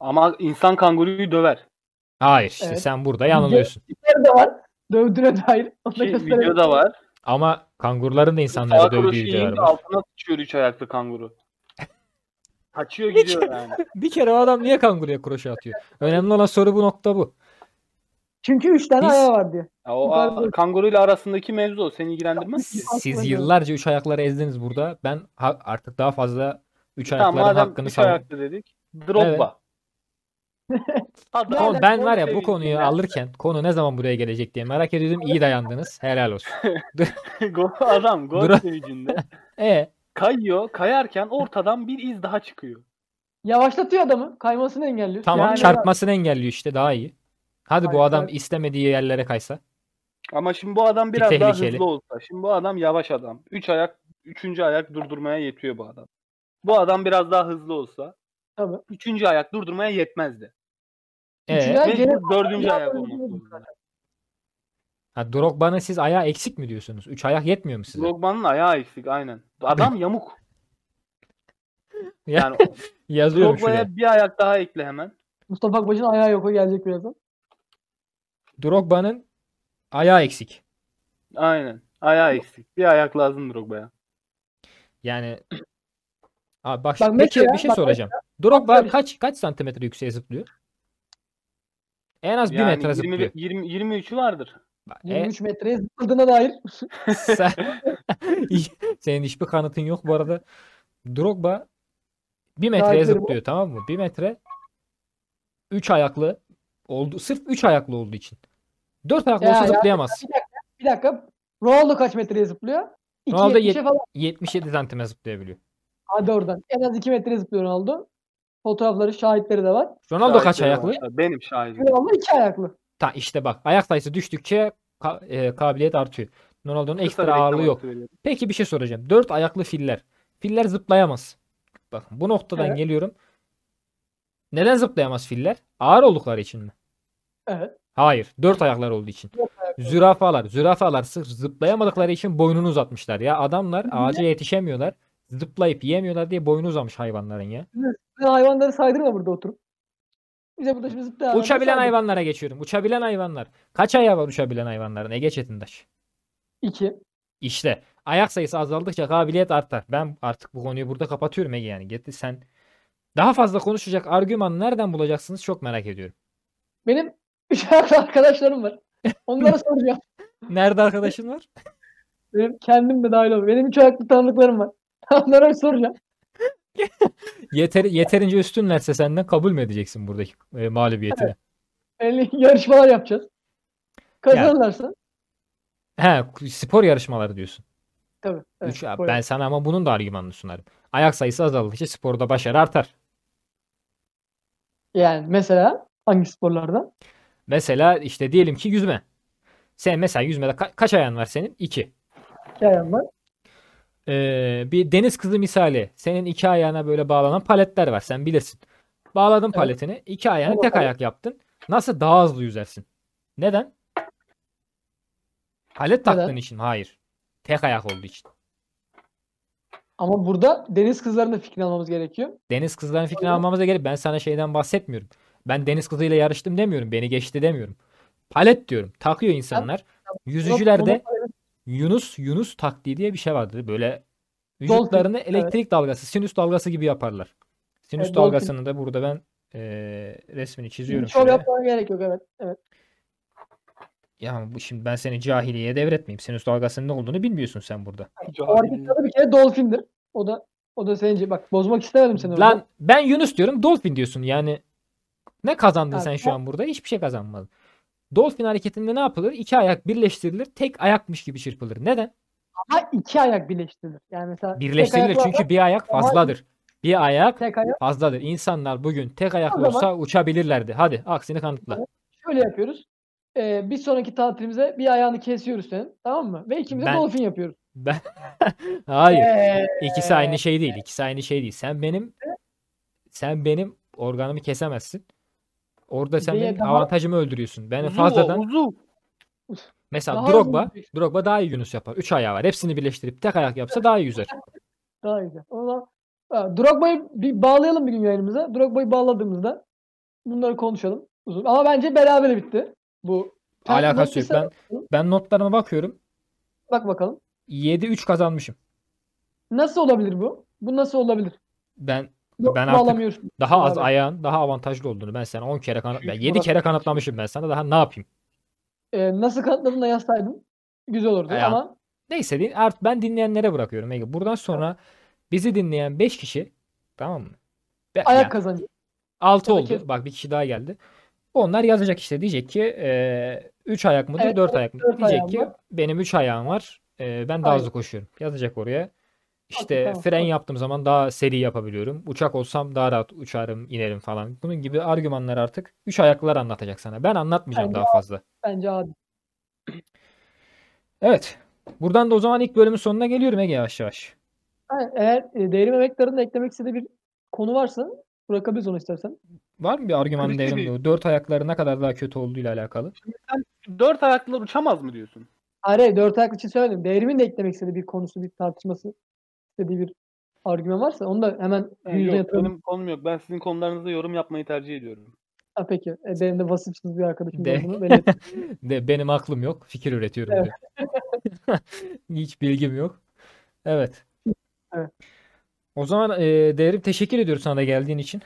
Speaker 3: Ama insan kanguruyu döver.
Speaker 1: Hayır işte
Speaker 2: Evet.
Speaker 1: sen burada yanılıyorsun.
Speaker 2: Nerede var? Dövdüğüne dair. Onu da
Speaker 3: Ki
Speaker 2: gösterelim.
Speaker 3: Şey, videoda var.
Speaker 1: Ama kanguruların da insanları
Speaker 3: Sağ
Speaker 1: dövdüğü
Speaker 3: kroşeyi
Speaker 1: videolar
Speaker 3: yiyince
Speaker 1: var.
Speaker 3: altına sıçıyor 3 ayaklı kanguru. Kaçıyor gidiyor yani.
Speaker 1: Bir kere o adam niye kanguruya kroşe atıyor? Önemli olan soru bu nokta bu.
Speaker 2: Çünkü 3 tane
Speaker 1: Biz-
Speaker 2: ayağı var diye.
Speaker 3: Ya o a- kanguruyla arasındaki mevzu o. Seni ilgilendirmez ki.
Speaker 1: Siz
Speaker 2: Aklına
Speaker 1: siz
Speaker 2: geldi.
Speaker 1: yıllarca üç ayakları ezdiniz burada. Ben ha- artık daha fazla üç
Speaker 3: Tamam
Speaker 1: ayakların
Speaker 3: madem
Speaker 1: hakkını
Speaker 3: üç
Speaker 1: savun.
Speaker 3: ayaklı dedik. Drogba. Adam-
Speaker 1: Oğlum ben var ya bu
Speaker 3: Sevindim
Speaker 1: konuyu
Speaker 3: ya.
Speaker 1: alırken konu ne zaman buraya gelecek diye merak ediyordum. İyi dayandınız. Helal olsun.
Speaker 3: Gol- Adam gol
Speaker 1: Dro-
Speaker 3: sevincinde.
Speaker 1: E
Speaker 3: Kayıyor. Kayarken ortadan bir iz daha çıkıyor.
Speaker 2: Yavaşlatıyor adamı. Kaymasını engelliyor.
Speaker 1: tamam
Speaker 2: Yani-
Speaker 1: çarpmasını engelliyor işte daha iyi. Hadi bu
Speaker 2: Hayır,
Speaker 1: adam
Speaker 2: hayır.
Speaker 1: istemediği yerlere kaysa.
Speaker 3: Ama şimdi bu adam biraz daha
Speaker 1: tehlikeli.
Speaker 3: hızlı olsa. Şimdi bu adam yavaş adam. Üç ayak, üçüncü ayak durdurmaya yetiyor bu adam. Bu adam biraz daha hızlı olsa.
Speaker 2: Tabii.
Speaker 3: Üçüncü ayak durdurmaya yetmezdi.
Speaker 1: E
Speaker 2: Üçüncü ayak- Ya
Speaker 3: Mecbur
Speaker 2: gene-
Speaker 3: dördüncü
Speaker 2: Ya
Speaker 3: ayak
Speaker 2: dördüncü
Speaker 3: olmak
Speaker 2: ayak
Speaker 3: zorunda.
Speaker 1: ha, Drogba'nın siz ayağı eksik mi diyorsunuz? Üç ayak yetmiyor mu size?
Speaker 3: Drogba'nın ayağı eksik aynen. Adam yamuk.
Speaker 1: Ya-
Speaker 3: Yani
Speaker 1: Yazıyorum şuraya.
Speaker 3: Drogba'ya bir ayak daha ekle hemen.
Speaker 2: Mustafa Akbaş'ın ayağı yok. O gelecek birazdan.
Speaker 1: Drogba'nın ayağı eksik.
Speaker 3: Aynen. Ayağı eksik. Bir ayak lazım Drogba'ya.
Speaker 1: Yani Abi bak,
Speaker 2: Bak
Speaker 1: şimdi-
Speaker 2: mesela-
Speaker 1: peki bir şey
Speaker 2: bak
Speaker 1: soracağım. Drogba
Speaker 2: Tabii.
Speaker 1: kaç kaç santimetre yükseğe zıplıyor? En az 1
Speaker 3: Yani
Speaker 1: metre
Speaker 3: 20
Speaker 1: zıplıyor.
Speaker 3: 20 23'ü vardır.
Speaker 1: Bak, e,
Speaker 2: 23 metreye zıpladığına dair.
Speaker 1: sen, senin hiçbir kanıtın yok bu arada. Drogba 1 metreye
Speaker 2: Şahitlerim o.
Speaker 1: zıplıyor tamam mı? 1 metre 3 ayaklı oldu. Sırf 3 ayaklı olduğu için. 4 ayaklı
Speaker 2: Ya,
Speaker 1: olsa
Speaker 2: yani-
Speaker 1: zıplayamaz.
Speaker 2: Bir dakika. Ronaldo kaç metreye zıplıyor?
Speaker 1: Ronaldo
Speaker 2: 2.70'e
Speaker 1: yet-
Speaker 2: falan.
Speaker 1: 77 santime zıplayabiliyor.
Speaker 2: Hadi oradan. En az 2 metre zıplıyor Ronaldo. Fotoğrafları, şahitleri de var.
Speaker 1: Ronaldo kaç
Speaker 3: Şahitleri
Speaker 1: ayaklı?
Speaker 3: var. şey Benim şahidim.
Speaker 2: Ronaldo iki ayaklı.
Speaker 1: Ta işte bak ayak sayısı düştükçe ka- e, kabiliyet artıyor. Ronaldo'nun
Speaker 3: Kısa bir
Speaker 1: ekstra
Speaker 3: reklam
Speaker 1: ağırlığı yok.
Speaker 3: arası veriyorum.
Speaker 1: Peki bir şey soracağım. Dört ayaklı filler. Filler zıplayamaz. Bakın bu noktadan
Speaker 2: Evet.
Speaker 1: geliyorum. Neden zıplayamaz filler? Ağır oldukları için mi?
Speaker 2: Evet.
Speaker 1: Hayır. Dört ayaklar olduğu için. Zürafalar. Zürafalar sırf zıplayamadıkları için boynunu uzatmışlar ya. Adamlar ağaca yetişemiyorlar. Zıplayıp yiyemiyorlar diye boynu uzamış hayvanların ya.
Speaker 2: Sen hayvanları saydırma burada oturup. Bize burada şimdi zıplayan hayvanları
Speaker 1: Uçabilen
Speaker 2: saydır.
Speaker 1: hayvanlara geçiyorum. Uçabilen hayvanlar. Kaç ayağı var uçabilen hayvanların? Ege Çetindaş.
Speaker 2: İki.
Speaker 1: İşte ayak sayısı azaldıkça kabiliyet artar. Ben artık bu konuyu burada kapatıyorum Ege yani. Gitti sen daha fazla konuşacak argüman nereden bulacaksınız çok merak ediyorum.
Speaker 2: Benim üç ayaklı arkadaşlarım var. Onlara soracağım.
Speaker 1: Nerede arkadaşın var?
Speaker 2: Benim kendim de dahil ol. Benim üç ayaklı tanıdıklarım var. Onlara soracağım.
Speaker 1: Yeter, yeterince üstünlerse senden kabul mü edeceksin buradaki e, mağlubiyetini?
Speaker 2: Yani yarışmalar yapacağız. Kazanırlarsa.
Speaker 1: He, spor yarışmaları diyorsun.
Speaker 2: Tabii. evet,
Speaker 1: Üç- ya
Speaker 2: koyarım.
Speaker 1: ben sana ama bunun da argümanını sunarım. Ayak sayısı azaldıkça sporda başarı artar.
Speaker 2: Yani mesela hangi sporlarda?
Speaker 1: Mesela işte diyelim ki yüzme. Sen mesela yüzmede ka- kaç ayağın var senin? İki.
Speaker 2: İki ayağım var.
Speaker 1: Ee, bir deniz kızı misali. Senin iki ayağına böyle bağlanan paletler var. Sen bilirsin. Bağladın paletini. iki ayağını
Speaker 2: Tamam,
Speaker 1: tek
Speaker 2: evet.
Speaker 1: ayak yaptın. Nasıl daha hızlı yüzersin? Neden? Palet
Speaker 2: Neden?
Speaker 1: taktığın için. Hayır. Tek ayak olduğu için.
Speaker 2: Ama burada deniz kızlarının da fikrini almamız gerekiyor.
Speaker 1: Deniz kızların fikrini
Speaker 2: Aynen.
Speaker 1: almamıza gerek. Ben sana şeyden bahsetmiyorum. Ben deniz kızıyla yarıştım demiyorum. Beni geçti demiyorum. Palet diyorum. Takıyor insanlar. Yüzücülerde Yunus Yunus taktiği diye bir şey vardır. Böyle
Speaker 2: Dolphin,
Speaker 1: vücutlarını elektrik dalgası, sinüs dalgası gibi yaparlar. Sinüs
Speaker 2: Evet, dolphin.
Speaker 1: dalgasını da burada ben eee, resmini çiziyorum.
Speaker 2: Şov
Speaker 1: şöyle.
Speaker 2: yapmana gerek yok evet. evet.
Speaker 1: Ya bu şimdi ben seni cahiliyeye devretmeyeyim. Sinüs dalgasının ne olduğunu bilmiyorsun sen burada.
Speaker 2: O
Speaker 3: Cahil.
Speaker 2: hareketin adı bir kere dolfindir. O da o da sence bak bozmak istemedim seni. orada.
Speaker 1: Lan ben Yunus diyorum, dolphin diyorsun. Yani ne kazandın
Speaker 2: Abi,
Speaker 1: sen şu an burada? Hiçbir şey kazanmadın. Dolphin hareketinde ne yapılır? İki ayak birleştirilir, tek ayakmış gibi çırpılır. Neden?
Speaker 2: Ha iki ayak birleştirilir. Yani mesela
Speaker 1: Birleştirilir
Speaker 2: tek ayakla-
Speaker 1: çünkü bir ayak
Speaker 2: Ama-
Speaker 1: fazladır. Bir ayak
Speaker 2: tek ayak
Speaker 1: fazladır. İnsanlar bugün tek ayaklı
Speaker 2: zaman-
Speaker 1: olsa uçabilirlerdi. Hadi aksini kanıtla.
Speaker 2: şöyle yapıyoruz. Ee, bir sonraki tatilimize bir ayağını kesiyoruz senin. Tamam mı? Ve ikimiz de
Speaker 1: Ben-
Speaker 2: dolfin yapıyoruz.
Speaker 1: Ben Hayır.
Speaker 2: Ee,
Speaker 1: ikisi aynı şey değil. İkisi aynı şey değil. Sen benim sen benim organımı kesemezsin. Orada sen
Speaker 2: Bir de
Speaker 1: benim
Speaker 2: daha-
Speaker 1: avantajımı öldürüyorsun. Ben
Speaker 3: Uzuv o,
Speaker 1: fazladan
Speaker 3: uzuv.
Speaker 1: mesela
Speaker 2: Daha
Speaker 1: Drogba
Speaker 2: uzun bir-
Speaker 1: Drogba daha iyi Yunus yapar. Üç ayağı var. Hepsini birleştirip tek ayak yapsa daha iyi yüzer.
Speaker 2: Daha güzel. O zaman Ha, Drogba'yı bir bağlayalım bir gün yayınımıza. Drogba'yı bağladığımızda bunları konuşalım. Uzun. Ama bence berabere bitti. Bu Sen
Speaker 1: Alakası yok.
Speaker 2: nasıl
Speaker 1: Ben ben notlarıma bakıyorum.
Speaker 2: Bak bakalım.
Speaker 1: 7-3 kazanmışım.
Speaker 2: Nasıl olabilir bu? Bu nasıl olabilir?
Speaker 1: Ben
Speaker 2: Yok,
Speaker 1: Ben artık-
Speaker 2: bağlamıyorsun.
Speaker 1: daha az
Speaker 2: Abi.
Speaker 1: ayağın daha avantajlı olduğunu ben sana 10 kere kanıt ben
Speaker 2: Çünkü
Speaker 1: 7
Speaker 2: burası-
Speaker 1: kere kanıtlamışım ben sana daha ne yapayım?
Speaker 2: Ee, nasıl kanıtladın da yazsaydın güzel olurdu
Speaker 1: Ya.
Speaker 2: ama
Speaker 1: Neyse din- art ben dinleyenlere bırakıyorum. Ege. Buradan sonra bizi dinleyen 5 kişi tamam mı? Be-
Speaker 2: ayak
Speaker 1: yani
Speaker 2: kazancı.
Speaker 1: altı
Speaker 2: tabii
Speaker 1: oldu.
Speaker 2: ki.
Speaker 1: Bak bir kişi daha geldi. Onlar yazacak işte diyecek ki 3 ayak mıdır,
Speaker 2: Evet,
Speaker 1: 4 ayak mıdır?
Speaker 2: dört
Speaker 1: Diyecek
Speaker 2: ayağım
Speaker 1: ki
Speaker 2: var.
Speaker 1: benim 3 ayağım var. e, ben daha
Speaker 2: Aynen.
Speaker 1: hızlı koşuyorum. Yazacak oraya. İşte
Speaker 2: tamam,
Speaker 1: fren
Speaker 2: tamam.
Speaker 1: yaptığım zaman daha seri yapabiliyorum. Uçak olsam daha rahat uçarım, inerim falan. Bunun gibi argümanlar artık 3 ayaklılar anlatacak sana. Ben anlatmayacağım
Speaker 2: Aynen.
Speaker 1: daha fazla.
Speaker 2: Bence abi.
Speaker 1: Evet. Buradan da o zaman ilk bölümün sonuna geliyorum Ege yavaş yavaş.
Speaker 2: Ha, eğer e, devrim emektarında eklemek istediği bir konu varsa bırakabiliriz onu istersen.
Speaker 1: Var mı bir argüman
Speaker 3: Kritik
Speaker 1: devrim
Speaker 3: bir-
Speaker 1: bu? Dört ayakları ne kadar daha kötü olduğuyla alakalı.
Speaker 3: Dört ayaklılar uçamaz mı diyorsun?
Speaker 2: Hayır, hayır, dört ayaklı için söylemedim. Devrimin de eklemek istediği bir konusu, bir tartışması istediği bir argüman varsa onu da hemen
Speaker 3: Yani
Speaker 2: yüzüne
Speaker 3: yok,
Speaker 2: yatıralım.
Speaker 3: benim konum yok. Ben sizin konularınızda yorum yapmayı tercih ediyorum.
Speaker 2: Ha, peki. E, benim de vasıfsız bir arkadaşım
Speaker 1: De-
Speaker 2: olduğunu belli ettim.
Speaker 1: De benim aklım yok, fikir üretiyorum
Speaker 2: Evet.
Speaker 1: diyor. Hiç bilgim yok. Evet.
Speaker 2: Evet.
Speaker 1: O zaman e, Devrim teşekkür ediyorum sana da geldiğin için.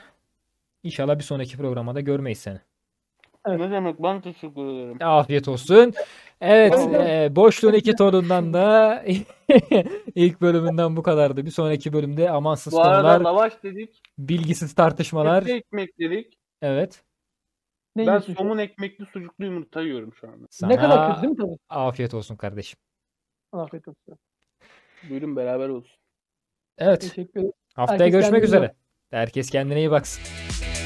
Speaker 1: İnşallah bir sonraki programda görmeyiz seni.
Speaker 2: Evet.
Speaker 3: Ne demek ben teşekkür ederim.
Speaker 1: Afiyet olsun. Evet,
Speaker 3: Tamam.
Speaker 1: e, boşluğun iki torundan da ilk bölümünden bu kadardı. Bir sonraki bölümde amansız
Speaker 3: Bu arada
Speaker 1: konular,
Speaker 3: lavaş dedik,
Speaker 1: bilgisiz tartışmalar.
Speaker 3: etli ekmek dedik.
Speaker 1: Evet.
Speaker 2: Ne
Speaker 3: Ben
Speaker 2: yiyorsun şu an?
Speaker 3: somun ekmekli sucuklu yumurta yiyorum şu anda.
Speaker 1: Sana
Speaker 2: Ne kadar kötü değil mi tabii?
Speaker 1: afiyet olsun kardeşim.
Speaker 2: Afiyet olsun.
Speaker 3: Buyurun beraber olsun.
Speaker 1: Evet.
Speaker 2: Teşekkür ederim.
Speaker 1: Haftaya
Speaker 2: Herkes
Speaker 1: görüşmek
Speaker 2: kendine iyi
Speaker 1: üzere. Herkes kendine iyi baksın.